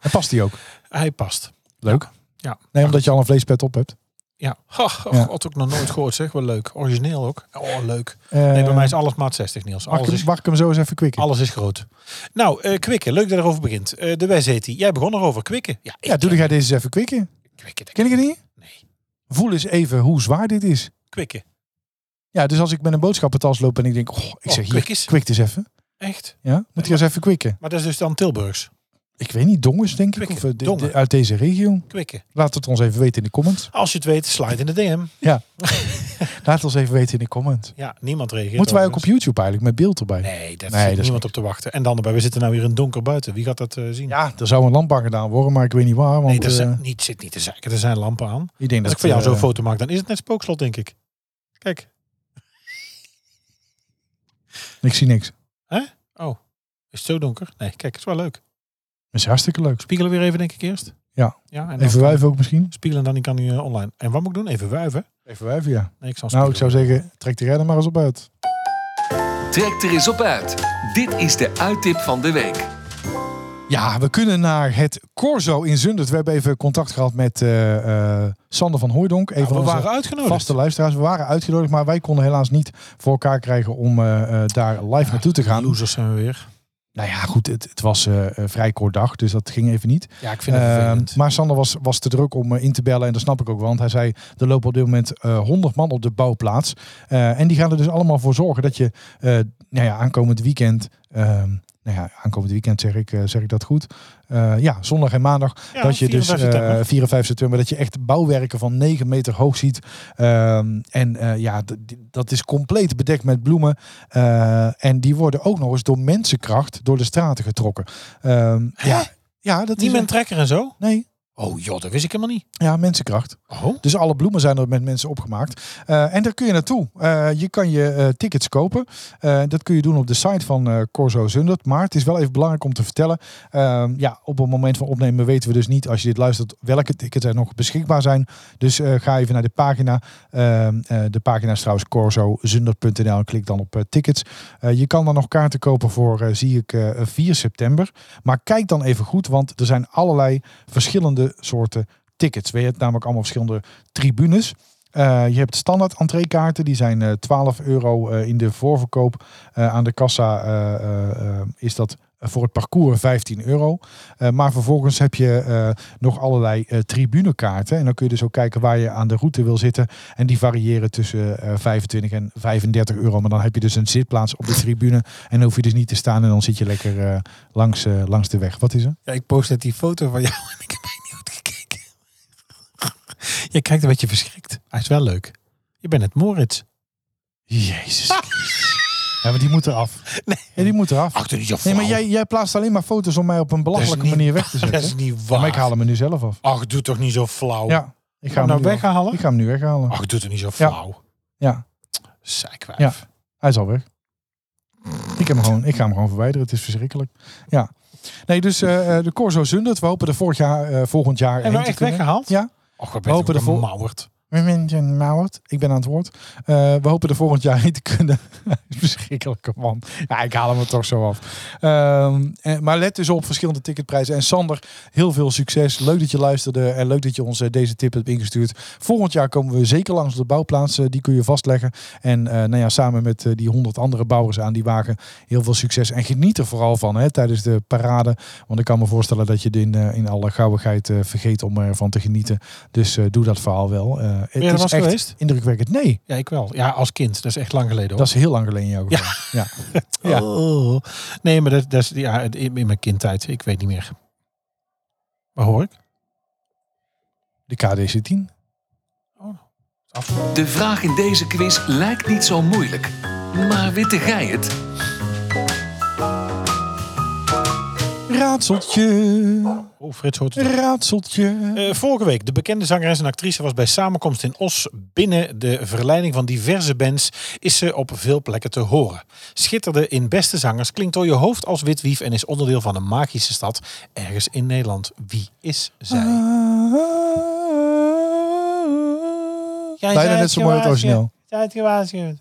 Speaker 3: en past die ook?
Speaker 2: Hij past.
Speaker 3: Leuk.
Speaker 2: Ja.
Speaker 3: Nee, omdat je al een vleespet op hebt.
Speaker 2: Ja. Ha, oh,
Speaker 3: Ja.
Speaker 2: God, ook nog nooit gehoord zeg. Wel leuk. Origineel ook. Oh, leuk.
Speaker 3: Eh,
Speaker 2: Nee, bij mij is alles maat 60, Niels.
Speaker 3: mag, ik,
Speaker 2: Alles
Speaker 3: hem-
Speaker 2: is,
Speaker 3: mag ik hem zo eens even kwikken?
Speaker 2: alles is groot. Nou, eh Kwikken. Leuk dat je erover begint. Eh, de Wes heet die. Jij begon erover. Kwikken. Ja, ik
Speaker 3: Ja, doe jij deze eens even kwikken.
Speaker 2: Kwikken. denk
Speaker 3: Ken ik het niet?
Speaker 2: Nee.
Speaker 3: Voel eens even hoe zwaar dit is.
Speaker 2: Kwikken.
Speaker 3: Ja, dus als ik met een boodschappentas loop en ik denk, oh, ik
Speaker 2: Oh,
Speaker 3: zeg hier,
Speaker 2: kwik eens.
Speaker 3: kwik eens even.
Speaker 2: Echt.
Speaker 3: Ja, moet je eens even kwikken.
Speaker 2: Maar dat is dus dan Tilburgs.
Speaker 3: Ik weet niet, dongers denk ik,
Speaker 2: Kwikken,
Speaker 3: of eh, de-
Speaker 2: dongen.
Speaker 3: de- uit deze regio.
Speaker 2: Kwikken.
Speaker 3: Laat het ons even weten in de comments.
Speaker 2: Als je het weet, slide in de DM.
Speaker 3: Laat het ons even weten in de comments.
Speaker 2: Ja, niemand reageert.
Speaker 3: Moeten wij ook op
Speaker 2: overigens.
Speaker 3: YouTube eigenlijk met beeld erbij?
Speaker 2: Nee, daar
Speaker 3: Nee,
Speaker 2: zit
Speaker 3: dat is
Speaker 2: niemand op te wachten. En dan erbij, we zitten nou hier in donker buiten. Wie gaat dat eh, zien?
Speaker 3: Ja, er zou een lamp aan gedaan worden, maar ik weet niet waar.
Speaker 2: nee,
Speaker 3: Want
Speaker 2: er zijn,
Speaker 3: eh,
Speaker 2: niet, zit niet te zeiken. Er zijn lampen aan.
Speaker 3: ik denk
Speaker 2: Als
Speaker 3: dat
Speaker 2: ik voor jou
Speaker 3: eh,
Speaker 2: zo'n foto maak, dan is het net spookslot, denk ik. Kijk.
Speaker 3: Ik zie niks.
Speaker 2: Oh, is het zo donker? Nee, kijk, is wel leuk.
Speaker 3: Dat is hartstikke leuk.
Speaker 2: Spiegelen weer even, denk ik, eerst.
Speaker 3: Ja.
Speaker 2: ja en dan
Speaker 3: Even wuiven ook misschien?
Speaker 2: Spiegelen, dan kan hij eh, online. En wat moet ik doen? Even wuiven?
Speaker 3: Even wuiven, ja.
Speaker 2: Nee, ik zal
Speaker 3: Nou, ik zou
Speaker 2: spiegelen.
Speaker 3: zeggen, trek de redder maar eens op uit.
Speaker 1: Trek er eens op uit. Dit is de uittip van de week.
Speaker 3: Ja, we kunnen naar het Corso in Zundert. We hebben even contact gehad met eh, eh, Sander van Hooijdonk. Een
Speaker 2: Ja,
Speaker 3: van
Speaker 2: Nou, we
Speaker 3: onze
Speaker 2: waren uitgenodigd.
Speaker 3: vaste luisteraars. We waren uitgenodigd, maar wij konden helaas niet voor elkaar krijgen om eh, eh, daar live naartoe te gaan.
Speaker 2: Losers zijn we weer.
Speaker 3: Nou ja, goed, het, het was eh, een vrij kort dag, dus dat ging even niet.
Speaker 2: Ja, ik vind het vervelend.
Speaker 3: Eh, maar Sander was, was te druk om eh, in te bellen. En dat snap ik ook. Want hij zei, er lopen op dit moment eh 100 man op de bouwplaats. Eh, en die gaan er dus allemaal voor zorgen dat je eh, nou ja, aankomend weekend... ehm, nou ja, aankomend weekend zeg ik, eh, zeg ik dat goed. Eh, ja, zondag en maandag.
Speaker 2: Ja,
Speaker 3: dat je dus
Speaker 2: 54 september.
Speaker 3: eh 4 en 5 september, dat je echt bouwwerken van 9 meter hoog ziet. Ehm, en eh, ja, d- d- dat is compleet bedekt met bloemen. Eh, en die worden ook nog eens door mensenkracht door de straten getrokken. Ehm, ja, ja, dat
Speaker 2: Niet
Speaker 3: is
Speaker 2: met een trekker en zo?
Speaker 3: Nee,
Speaker 2: Oh joh, dat wist ik helemaal niet.
Speaker 3: ja, mensenkracht.
Speaker 2: Oh.
Speaker 3: Dus alle bloemen zijn er met mensen opgemaakt. Eh, en daar kun je naartoe. Eh, je kan je eh, tickets kopen. Eh, dat kun je doen op de site van eh, Corso Zundert. Maar het is wel even belangrijk om te vertellen. ehm, ja, op het moment van opnemen weten we dus niet, als je dit luistert, welke tickets er nog beschikbaar zijn. Dus eh, ga even naar de pagina. Ehm, eh, de pagina is trouwens corsozundert.nl en klik dan op eh, tickets. Eh, je kan dan nog kaarten kopen voor, eh, zie ik, eh, 4 september. Maar kijk dan even goed, want er zijn allerlei verschillende soorten tickets. Je hebt namelijk allemaal verschillende tribunes. Eh, je hebt standaard entreekaarten, die zijn eh 12 euro eh, in de voorverkoop. Eh, aan de kassa eh, eh, eh, is dat voor het parcours 15 euro. Eh, maar vervolgens heb je eh, nog allerlei eh, tribunekaarten. En dan kun je dus ook kijken waar je aan de route wil zitten. En die variëren tussen eh, 25 en 35 euro. Maar dan heb je dus een zitplaats op de tribune. En dan hoef je dus niet te staan en dan zit je lekker eh, langs, eh, langs de weg. Wat is er?
Speaker 2: Ja, ik post net die foto van jou en ik heb mij niet goed gekeken. Je kijkt een beetje verschrikt. Hij is wel leuk. Je bent het Moritz.
Speaker 3: Jezus. Ja, maar die moet eraf.
Speaker 2: Nee.
Speaker 3: Ja, die moet eraf.
Speaker 2: Achter je
Speaker 3: Nee, maar jij, jij plaatst alleen maar foto's om mij op een belachelijke
Speaker 2: Dus niet-
Speaker 3: manier weg te
Speaker 2: Dat
Speaker 3: zetten.
Speaker 2: is niet
Speaker 3: Ja,
Speaker 2: waar.
Speaker 3: maar ik haal hem er nu zelf af.
Speaker 2: Ach, doe toch niet zo flauw.
Speaker 3: Ja, ik ga hem
Speaker 2: nou
Speaker 3: nu af.
Speaker 2: weghalen? Oh.
Speaker 3: Ik ga hem nu weghalen.
Speaker 2: Ach, doe toch niet zo flauw.
Speaker 3: Ja,
Speaker 2: Zijkwijf.
Speaker 3: Ja. hij is al weg. Ik, heb hem gewoon, ik ga hem gewoon verwijderen. Het is verschrikkelijk. Ja. Nee, dus eh, eh, de Corso Zundert. We hopen er vorig jaar, eh, volgend jaar
Speaker 2: En nou
Speaker 3: te
Speaker 2: echt
Speaker 3: kunnen.
Speaker 2: weggehaald?
Speaker 3: Ja.
Speaker 2: Och, we
Speaker 3: hopen
Speaker 2: hebben
Speaker 3: ervoor-
Speaker 2: gemauwerd.
Speaker 3: Mementen Mauwert. Ik ben aan het woord. Eh, we hopen er volgend jaar heen te kunnen. Hij is verschrikkelijke man. Ja, ik haal hem er toch zo af. Ehm, en- maar let dus op verschillende ticketprijzen. En Sander, heel veel succes. Leuk dat je luisterde en leuk dat je ons eh, deze tip hebt ingestuurd. Volgend jaar komen we zeker langs op de bouwplaats. Eh, die kun je vastleggen. En eh, nou ja, samen met eh, die honderd andere bouwers aan die wagen heel veel succes. En geniet er vooral van hè, tijdens de parade. Want ik kan me voorstellen dat je in, eh, in alle gauwigheid eh, vergeet om ervan te genieten. Dus eh, doe dat verhaal wel. Eh, het
Speaker 2: er wel eens
Speaker 3: echt
Speaker 2: geweest?
Speaker 3: indrukwekkend. Nee,
Speaker 2: Ja, ik wel. Ja, als kind. Dat is echt lang geleden hoor.
Speaker 3: dat is heel lang geleden in jouw geval. Ja. ja.
Speaker 2: Oh. Nee, maar dat, dat is ja, in in mijn kindtijd. Ik weet niet meer. Waar hoor ik?
Speaker 3: De KDC-10.
Speaker 1: De vraag in deze quiz lijkt niet zo moeilijk. Maar witte gij het?
Speaker 3: Raadseltje,
Speaker 2: Oh, Frits hoort het.
Speaker 3: raadseltje.
Speaker 2: Eh, vorige week, de bekende zangeres en actrice was bij samenkomst in Os. Binnen de verleiding van diverse bands is ze op veel plekken te horen. Schitterde in Beste Zangers, klinkt door je hoofd als witwief en is onderdeel van een magische stad ergens in Nederland. Wie is
Speaker 3: Ah.
Speaker 2: zij? Jij
Speaker 3: Bijna net zo mooi als het origineel.
Speaker 2: Zij het gewaarschuwd.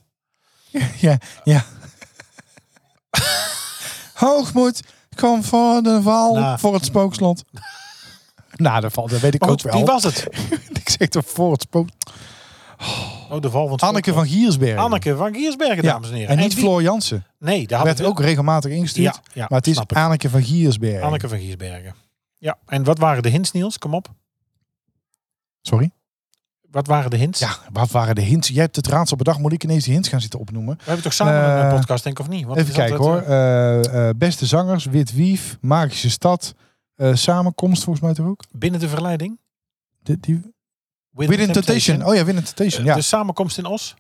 Speaker 3: Ja, ja. Hoogmoed kwam voor de val
Speaker 2: Nou.
Speaker 3: voor het spookslot. nou, dat, valt, dat weet ik
Speaker 2: Maar
Speaker 3: ook
Speaker 2: goed,
Speaker 3: wel.
Speaker 2: wie was het?
Speaker 3: ik zeg toch voor het spook.
Speaker 2: Oh, de val van het
Speaker 3: Anneke
Speaker 2: spoor.
Speaker 3: van Giersbergen.
Speaker 2: Anneke van Giersbergen,
Speaker 3: Ja,
Speaker 2: dames en heren.
Speaker 3: En niet
Speaker 2: wie-
Speaker 3: Floor Jansen.
Speaker 2: Nee, daar
Speaker 3: werd
Speaker 2: hadden we
Speaker 3: ook regelmatig ingestuurd.
Speaker 2: Ja, ja,
Speaker 3: maar het is
Speaker 2: snap ik.
Speaker 3: Anneke van Giersbergen.
Speaker 2: Anneke van Giersbergen. Ja, en wat waren de hints, Niels? Kom op.
Speaker 3: Sorry?
Speaker 2: Wat waren de hints?
Speaker 3: Ja, wat waren de hints? Jij hebt het raadsel bedacht. Moet ik ineens die hints gaan zitten opnoemen?
Speaker 2: We hebben toch samen een
Speaker 3: Eh,
Speaker 2: eh, podcast, denk ik, of niet? Want
Speaker 3: Even
Speaker 2: het is
Speaker 3: kijken hoor.
Speaker 2: altijd,
Speaker 3: Eh, eh, beste zangers, Wit Wief, Magische Stad, eh, Samenkomst volgens mij toch ook?
Speaker 2: eh, binnen de verleiding.
Speaker 3: Die, die,
Speaker 2: Within
Speaker 3: Within Temptation. Oh ja, Within Temptation.
Speaker 2: ja.
Speaker 3: Ja,
Speaker 2: De samenkomst in Os.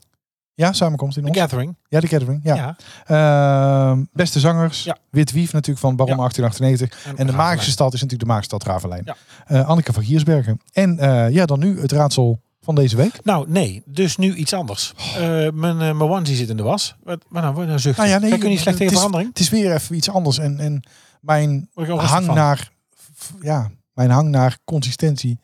Speaker 3: ja Samenkomst in
Speaker 2: The
Speaker 3: ons.
Speaker 2: Gathering.
Speaker 3: Ja, de Gathering. Ja.
Speaker 2: Ja.
Speaker 3: Ehm, beste zangers,
Speaker 2: Ja.
Speaker 3: Wit Wief natuurlijk van Baron
Speaker 2: Ja.
Speaker 3: 1898. En de Magische Stad is natuurlijk de Magische Stad Ravenlijn.
Speaker 2: Ja.
Speaker 3: Eh, Anneke van Giersbergen. En eh, ja, dan nu het raadsel van deze week.
Speaker 2: Nou, nee. Dus nu iets anders. Eh, mijn, eh, mijn onesie zit in de was. Wat, maar nou, word je nou zuchten.
Speaker 3: Oh. Nou ja, nee,
Speaker 2: Kijk, kun je niet slecht tegen
Speaker 3: het is-
Speaker 2: verandering?
Speaker 3: Het is weer even iets anders. En, en mijn
Speaker 2: Word ik al rustig
Speaker 3: hang
Speaker 2: van.
Speaker 3: naar, f- ja, mijn hang naar consistentie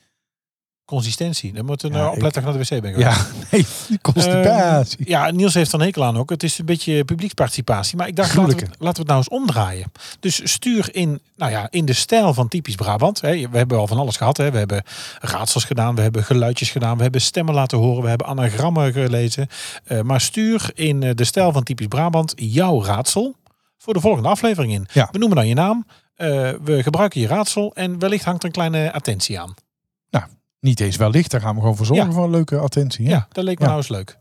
Speaker 2: Consistentie. Dan moet een
Speaker 3: Ja,
Speaker 2: ja,
Speaker 3: ik-
Speaker 2: opletten naar de wc ben geweest.
Speaker 3: Ja, Eh, nee, Dus constipatie.
Speaker 2: Ehm, ja, Niels heeft er een hekel aan ook. Het is een beetje publieksparticipatie. Maar ik dacht, laten we,
Speaker 3: Gruwelijke.
Speaker 2: het- laten we het nou eens omdraaien. Dus stuur in, nou ja, in de stijl van typisch Brabant. Hè. We hebben al van alles gehad. Hè. We hebben raadsels gedaan, we hebben geluidjes gedaan, we hebben stemmen laten horen, we hebben anagrammen gelezen. Eh, maar stuur in eh, de stijl van typisch Brabant jouw raadsel voor de volgende aflevering in.
Speaker 3: Ja.
Speaker 2: We noemen dan je naam. eh, we gebruiken je raadsel en wellicht hangt er een kleine attentie aan.
Speaker 3: Niet eens wellicht, daar gaan we gewoon voor zorgen
Speaker 2: Ja.
Speaker 3: voor een leuke attentie.
Speaker 2: Ja,
Speaker 3: hè?
Speaker 2: dat leek me
Speaker 3: Ja.
Speaker 2: nou eens leuk.
Speaker 3: ik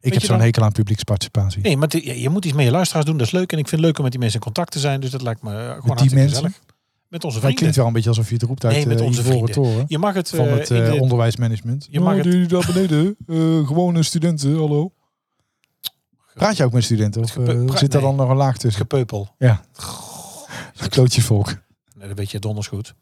Speaker 2: je
Speaker 3: heb zo'n
Speaker 2: dan-
Speaker 3: hekel aan publieksparticipatie.
Speaker 2: Nee, maar het- je, je moet iets met je luisteraars doen. Dat is leuk. En ik vind het leuk om met die mensen in contact te zijn. Dus dat lijkt me eh, gewoon
Speaker 3: Met die
Speaker 2: hartstikke
Speaker 3: mensen.
Speaker 2: gezellig. Met onze
Speaker 3: dat
Speaker 2: vrienden.
Speaker 3: klinkt wel een beetje alsof je het roept uit
Speaker 2: Nee, met
Speaker 3: eh,
Speaker 2: onze
Speaker 3: Ivoren
Speaker 2: vrienden.
Speaker 3: Toren.
Speaker 2: Je mag het,
Speaker 3: Van
Speaker 2: eh,
Speaker 3: het
Speaker 2: in
Speaker 3: eh,
Speaker 2: de-
Speaker 3: onderwijsmanagement.
Speaker 2: Je mag
Speaker 3: Nou,
Speaker 2: het-
Speaker 3: doe daar beneden. eh, gewone studenten, hallo. Praat je ook met studenten? Of
Speaker 2: Het gepe-
Speaker 3: eh,
Speaker 2: praat-
Speaker 3: zit daar dan nog een laag tussen?
Speaker 2: gepeupel.
Speaker 3: Klootjesvolk.
Speaker 2: Nee, dat weet je donders goed.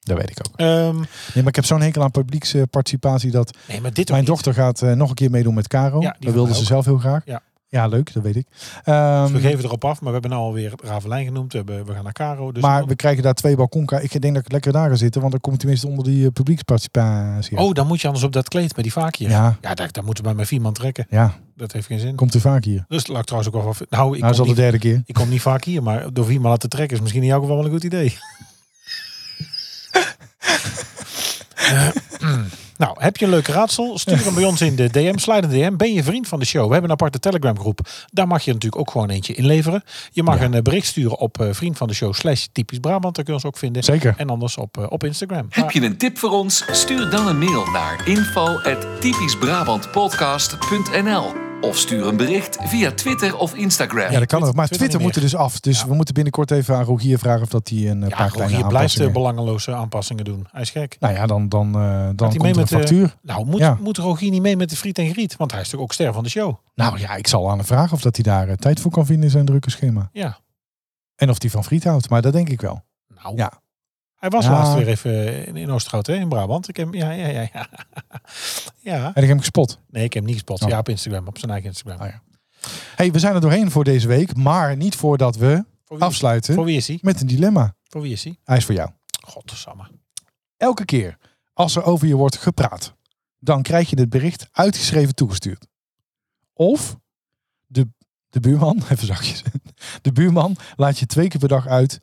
Speaker 3: Dat weet ik ook.
Speaker 2: Ehm,
Speaker 3: Nee, maar ik heb zo'n hekel aan publieksparticipatie dat
Speaker 2: nee, maar dit ook
Speaker 3: Mijn
Speaker 2: niet.
Speaker 3: dochter gaat eh, nog een keer meedoen met Caro.
Speaker 2: Ja, die
Speaker 3: dat
Speaker 2: van
Speaker 3: wilde
Speaker 2: mij
Speaker 3: ze
Speaker 2: ook.
Speaker 3: zelf heel graag.
Speaker 2: Ja.
Speaker 3: leuk, dat weet ik. Ehm,
Speaker 2: Dus we geven erop af. Maar we hebben nou alweer Ravelijn genoemd. We, hebben, we gaan naar Caro. Dus
Speaker 3: maar we krijgen daar twee balkonka. Ik denk dat ik lekker daar ga zitten, want dan kom ik tenminste onder die eh, publieksparticipatie.
Speaker 2: Oh, dan moet je anders op dat kleed met die vaak hier.
Speaker 3: Ja.
Speaker 2: Ja, dat, dat moeten we bij mijn vier man trekken.
Speaker 3: Ja,
Speaker 2: Dat heeft geen zin.
Speaker 3: komt u vaak hier.
Speaker 2: Dus dat lag trouwens ook wel van... Nou, ik,
Speaker 3: nou, is al
Speaker 2: kom
Speaker 3: de
Speaker 2: niet,
Speaker 3: derde keer.
Speaker 2: ik kom niet vaak hier. Maar door vier man laten trekken is misschien in jouw geval wel een goed idee. Eh, Nou, heb je een leuk raadsel? Stuur hem bij ons in de DM, slide een DM. Ben je vriend van de show? We hebben een aparte Telegram groep. Daar mag je natuurlijk ook gewoon eentje inleveren. Je mag een eh, bericht sturen op eh, vriend van de show slash typisch Brabant. Daar kun je ons ook vinden.
Speaker 3: Zeker.
Speaker 2: En anders op, eh, op Instagram.
Speaker 1: Heb je een tip voor ons? Stuur dan een mail naar info@typischbrabantpodcast.nl of stuur een bericht via Twitter of Instagram.
Speaker 3: Ja, dat kan ook. Maar
Speaker 2: Twitter
Speaker 3: Twitter
Speaker 2: niet
Speaker 3: moet er dus af. Dus
Speaker 2: Ja.
Speaker 3: we moeten binnenkort even aan Rogier vragen of dat hij een eh,
Speaker 2: ja,
Speaker 3: paar kleine
Speaker 2: Rogier blijft eh,
Speaker 3: aanpassingen...
Speaker 2: belangeloze aanpassingen doen. Hij is gek.
Speaker 3: nou ja, dan, dan, eh, dan
Speaker 2: hij
Speaker 3: komt
Speaker 2: mee
Speaker 3: er een
Speaker 2: met, eh,
Speaker 3: factuur.
Speaker 2: Nou, moet,
Speaker 3: Ja.
Speaker 2: moet Rogier niet mee met de friet en griet? Want hij is toch ook ster van de show?
Speaker 3: Nou ja, ik zal aan hem vragen of dat hij daar eh, tijd voor kan vinden in zijn drukke schema.
Speaker 2: Ja.
Speaker 3: En of hij van friet houdt. Maar dat denk ik wel.
Speaker 2: Nou.
Speaker 3: Ja.
Speaker 2: Hij was
Speaker 3: Ja.
Speaker 2: laatst weer even in, in Oosterhout, hè, in Brabant. Ik heb, ja, ja, ja, ja. ja.
Speaker 3: En ik heb hem gespot.
Speaker 2: Nee, ik heb hem niet gespot.
Speaker 3: Oh.
Speaker 2: Ja, op Instagram. Op zijn eigen Instagram.
Speaker 3: Ah, ja. Hey, we zijn er doorheen voor deze week, maar niet voordat we
Speaker 2: Voor wie-
Speaker 3: afsluiten
Speaker 2: Voor wie is hij?
Speaker 3: met een dilemma.
Speaker 2: Voor wie is hij?
Speaker 3: Hij is voor jou.
Speaker 2: Godsamme.
Speaker 3: Elke keer als er over je wordt gepraat, dan krijg je dit bericht uitgeschreven toegestuurd. Of de, de buurman, even zachtjes, de buurman laat je twee keer per dag uit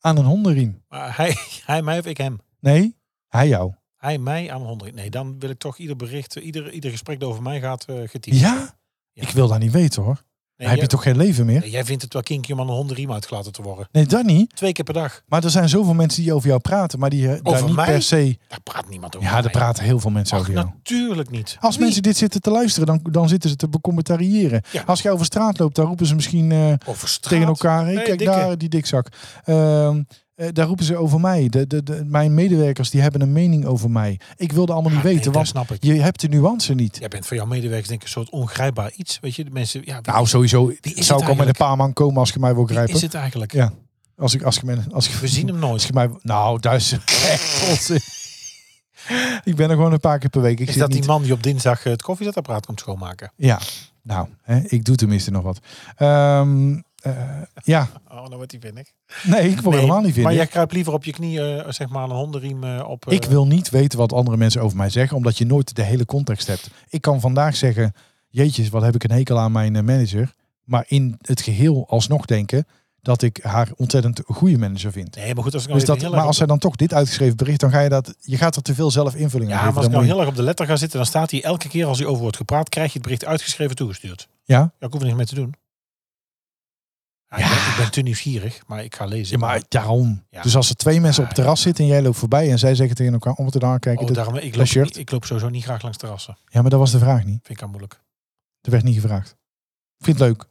Speaker 3: aan een hondenriem.
Speaker 2: Maar hij, hij mij of ik hem?
Speaker 3: Nee, hij jou.
Speaker 2: Hij mij aan 100. Nee, dan wil ik toch ieder bericht, eh, ieder, ieder gesprek dat over mij gaat eh getypt.
Speaker 3: Ja?
Speaker 2: Ja.
Speaker 3: Ik wil dat niet weten hoor.
Speaker 2: Nee,
Speaker 3: heb
Speaker 2: jij,
Speaker 3: je toch geen leven meer?
Speaker 2: nee, jij vindt het wel kinky om aan een hondenriem uitgelaten te worden.
Speaker 3: Nee, dat niet.
Speaker 2: Twee keer per dag.
Speaker 3: Maar er zijn zoveel mensen die over jou praten, maar die eh, daar
Speaker 2: Over
Speaker 3: niet
Speaker 2: mij?
Speaker 3: per se...
Speaker 2: Daar praat niemand over.
Speaker 3: Ja,
Speaker 2: mij.
Speaker 3: er praten heel veel mensen
Speaker 2: Ach, nou,
Speaker 3: over jou.
Speaker 2: natuurlijk niet.
Speaker 3: Als
Speaker 2: Wie?
Speaker 3: mensen dit zitten te luisteren, dan, dan zitten ze te becommentariëren.
Speaker 2: Ja.
Speaker 3: Als jij over straat loopt, dan roepen ze misschien eh,
Speaker 2: over straat.
Speaker 3: tegen elkaar. Hey,
Speaker 2: Nee,
Speaker 3: kijk
Speaker 2: dikke.
Speaker 3: daar, die dikzak. Ehm, eh, daar roepen ze over mij. De, de, de, mijn medewerkers die hebben een mening over mij. Ik wilde allemaal niet
Speaker 2: Ah, nee,
Speaker 3: weten,
Speaker 2: dat
Speaker 3: want
Speaker 2: snap ik.
Speaker 3: je hebt de nuance niet.
Speaker 2: Jij bent voor jouw medewerkers denk ik een soort ongrijpbaar iets. Weet je, de mensen... Ja, wie-
Speaker 3: Nou, sowieso
Speaker 2: het
Speaker 3: zou ik al met een
Speaker 2: eigenlijk?
Speaker 3: paar man komen als je mij wil
Speaker 2: wie
Speaker 3: grijpen.
Speaker 2: is het eigenlijk?
Speaker 3: Ja. Als ik, als ik, men- als ik,
Speaker 2: We zien hem nooit.
Speaker 3: als je mij, nou, dat is echt onzin. Ik ben er gewoon een paar keer per week. Ik
Speaker 2: Is
Speaker 3: zit
Speaker 2: dat
Speaker 3: niet
Speaker 2: die man die op dinsdag eh, het koffiezetapparaat komt schoonmaken?
Speaker 3: Ja, nou, hè, ik doe tenminste nog wat. Ehm, eh, ja,
Speaker 2: Oh, nou wordt hij vinnig.
Speaker 3: nee, ik wil
Speaker 2: Nee,
Speaker 3: helemaal
Speaker 2: Maar
Speaker 3: niet vinden.
Speaker 2: jij kruipt liever op je knieën, eh, zeg maar, aan een hondenriem eh, op... eh,
Speaker 3: Ik wil niet weten wat andere mensen over mij zeggen, omdat je nooit de hele context hebt. Ik kan vandaag zeggen, jeetjes, wat heb ik een hekel aan mijn eh, manager. Maar in het geheel alsnog denken dat ik haar ontzettend een goede manager vind.
Speaker 2: Nee, maar goed, als ik nou
Speaker 3: Dus
Speaker 2: even
Speaker 3: dat,
Speaker 2: heel
Speaker 3: maar
Speaker 2: erg
Speaker 3: als zij dan toch dit uitgeschreven bericht, dan ga je dat, je gaat er te veel zelf invulling aan
Speaker 2: Ja,
Speaker 3: geven.
Speaker 2: maar als ik
Speaker 3: Dan
Speaker 2: nou
Speaker 3: moet je-
Speaker 2: heel erg op de letter ga zitten, dan staat hij elke keer als hij over wordt gepraat, krijg je het bericht uitgeschreven toegestuurd.
Speaker 3: Ja?
Speaker 2: Ja, ik hoef er niks mee te doen. Ja, Ik, ben, ik ben te nieuwsgierig, maar ik ga lezen. Oh,
Speaker 3: Ja, maar daarom.
Speaker 2: Ja.
Speaker 3: Dus als er twee mensen op het terras zitten en jij loopt voorbij en zij zeggen tegen elkaar om te dan kijken.
Speaker 2: oh,
Speaker 3: dat-
Speaker 2: daarom, ik,
Speaker 3: dat
Speaker 2: loop,
Speaker 3: shirt.
Speaker 2: niet- ik loop sowieso niet graag langs terrassen.
Speaker 3: Ja, maar dat was de vraag niet.
Speaker 2: Vind ik al moeilijk.
Speaker 3: Er werd niet gevraagd. Ik vind het leuk.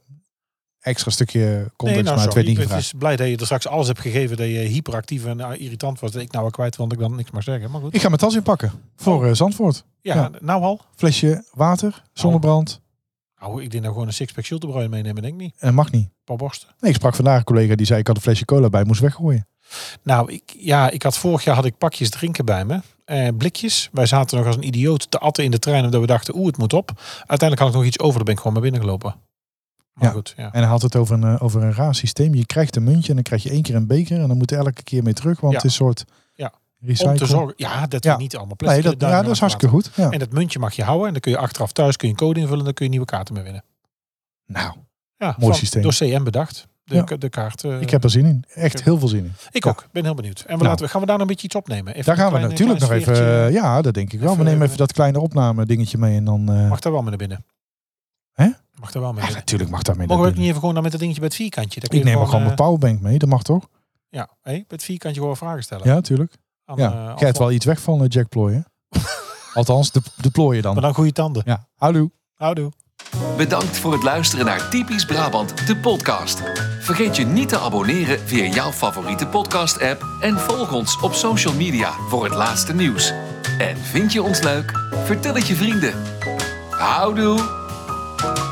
Speaker 3: Extra stukje context, maar het
Speaker 2: nou, sorry,
Speaker 3: werd niet
Speaker 2: ik ben
Speaker 3: gevraagd.
Speaker 2: dus blij dat je er straks alles hebt gegeven, dat je hyperactief en eh, irritant was, dat ik nou al kwijt, want ik dan niks mag zeggen. Maar goed.
Speaker 3: Ik ga mijn tas inpakken voor
Speaker 2: Oh.
Speaker 3: eh, Zandvoort.
Speaker 2: Ja,
Speaker 3: ja.
Speaker 2: nou al.
Speaker 3: Flesje water, zonnebrand.
Speaker 2: Nou, ik denk nou gewoon een sixpack chiltebruin meenemen, denk ik niet.
Speaker 3: En mag niet.
Speaker 2: Een paar borsten.
Speaker 3: Nee, ik sprak vandaag een collega die zei ik had een flesje cola bij, moest weggooien.
Speaker 2: Nou, ik, ja, ik had vorig jaar had ik pakjes drinken bij me. Eh, blikjes. Wij zaten nog als een idioot te atten in de trein. Omdat we dachten, oeh, het moet op. Uiteindelijk had ik nog iets over. Daar ben ik gewoon maar binnen gelopen. Maar
Speaker 3: Ja.
Speaker 2: goed, ja.
Speaker 3: En hij had het over een, eh, over een raar systeem. Je krijgt een muntje en dan krijg je één keer een beker. En dan moet je elke keer mee terug, want
Speaker 2: Ja.
Speaker 3: het is een soort
Speaker 2: Ja.
Speaker 3: recycle.
Speaker 2: Om te zorgen, ja, dat
Speaker 3: Ja.
Speaker 2: we niet allemaal
Speaker 3: nee,
Speaker 2: plastic
Speaker 3: dat,
Speaker 2: in de
Speaker 3: ja,
Speaker 2: duinen
Speaker 3: dat is
Speaker 2: achterlaten.
Speaker 3: hartstikke goed. Ja.
Speaker 2: En dat muntje mag je houden. En dan kun je achteraf thuis kun je een code invullen. En dan kun je nieuwe kaarten mee winnen.
Speaker 3: Nou,
Speaker 2: Ja,
Speaker 3: Mooi
Speaker 2: van-
Speaker 3: systeem.
Speaker 2: Door CM bedacht. De,
Speaker 3: Ja.
Speaker 2: de kaart. eh,
Speaker 3: ik heb er zin in. Echt heel veel zin in.
Speaker 2: ik
Speaker 3: ja.
Speaker 2: ook. Ben heel benieuwd. En we
Speaker 3: Nou.
Speaker 2: laten, we- gaan we daar nog een beetje iets opnemen? Even
Speaker 3: Daar
Speaker 2: een
Speaker 3: gaan we
Speaker 2: klein-
Speaker 3: natuurlijk nog
Speaker 2: klein
Speaker 3: even...
Speaker 2: sfeertje.
Speaker 3: eh, ja, dat denk ik wel. We
Speaker 2: Even,
Speaker 3: nemen
Speaker 2: eh,
Speaker 3: even dat kleine opname dingetje mee en dan... eh,
Speaker 2: Mag daar wel mee naar binnen?
Speaker 3: Hè?
Speaker 2: Mag daar wel mee
Speaker 3: ja,
Speaker 2: naar binnen?
Speaker 3: natuurlijk mag daarmee
Speaker 2: Mogen we
Speaker 3: naar
Speaker 2: ook niet
Speaker 3: binnen.
Speaker 2: even gewoon dan met dat dingetje bij het vierkantje? Dan kun
Speaker 3: Ik
Speaker 2: je
Speaker 3: neem ook gewoon mijn
Speaker 2: eh,
Speaker 3: powerbank mee, dat mag toch?
Speaker 2: Ja, hé, bij het vierkantje gewoon vragen stellen.
Speaker 3: Ja, tuurlijk.
Speaker 2: Aan, eh,
Speaker 3: Ja. Krijgt
Speaker 2: Anton.
Speaker 3: wel iets weg van eh, Jack Plooien. Althans, de, de plooien
Speaker 2: Maar
Speaker 3: dan.
Speaker 2: dan goede tanden. Nou,
Speaker 3: Ja, houdoe.
Speaker 2: Houdoe.
Speaker 1: Bedankt voor het luisteren naar Typisch Brabant, de podcast. Vergeet je niet te abonneren via jouw favoriete podcast-app en volg ons op social media voor het laatste nieuws. En vind je ons leuk? Vertel het je vrienden. Houdoe!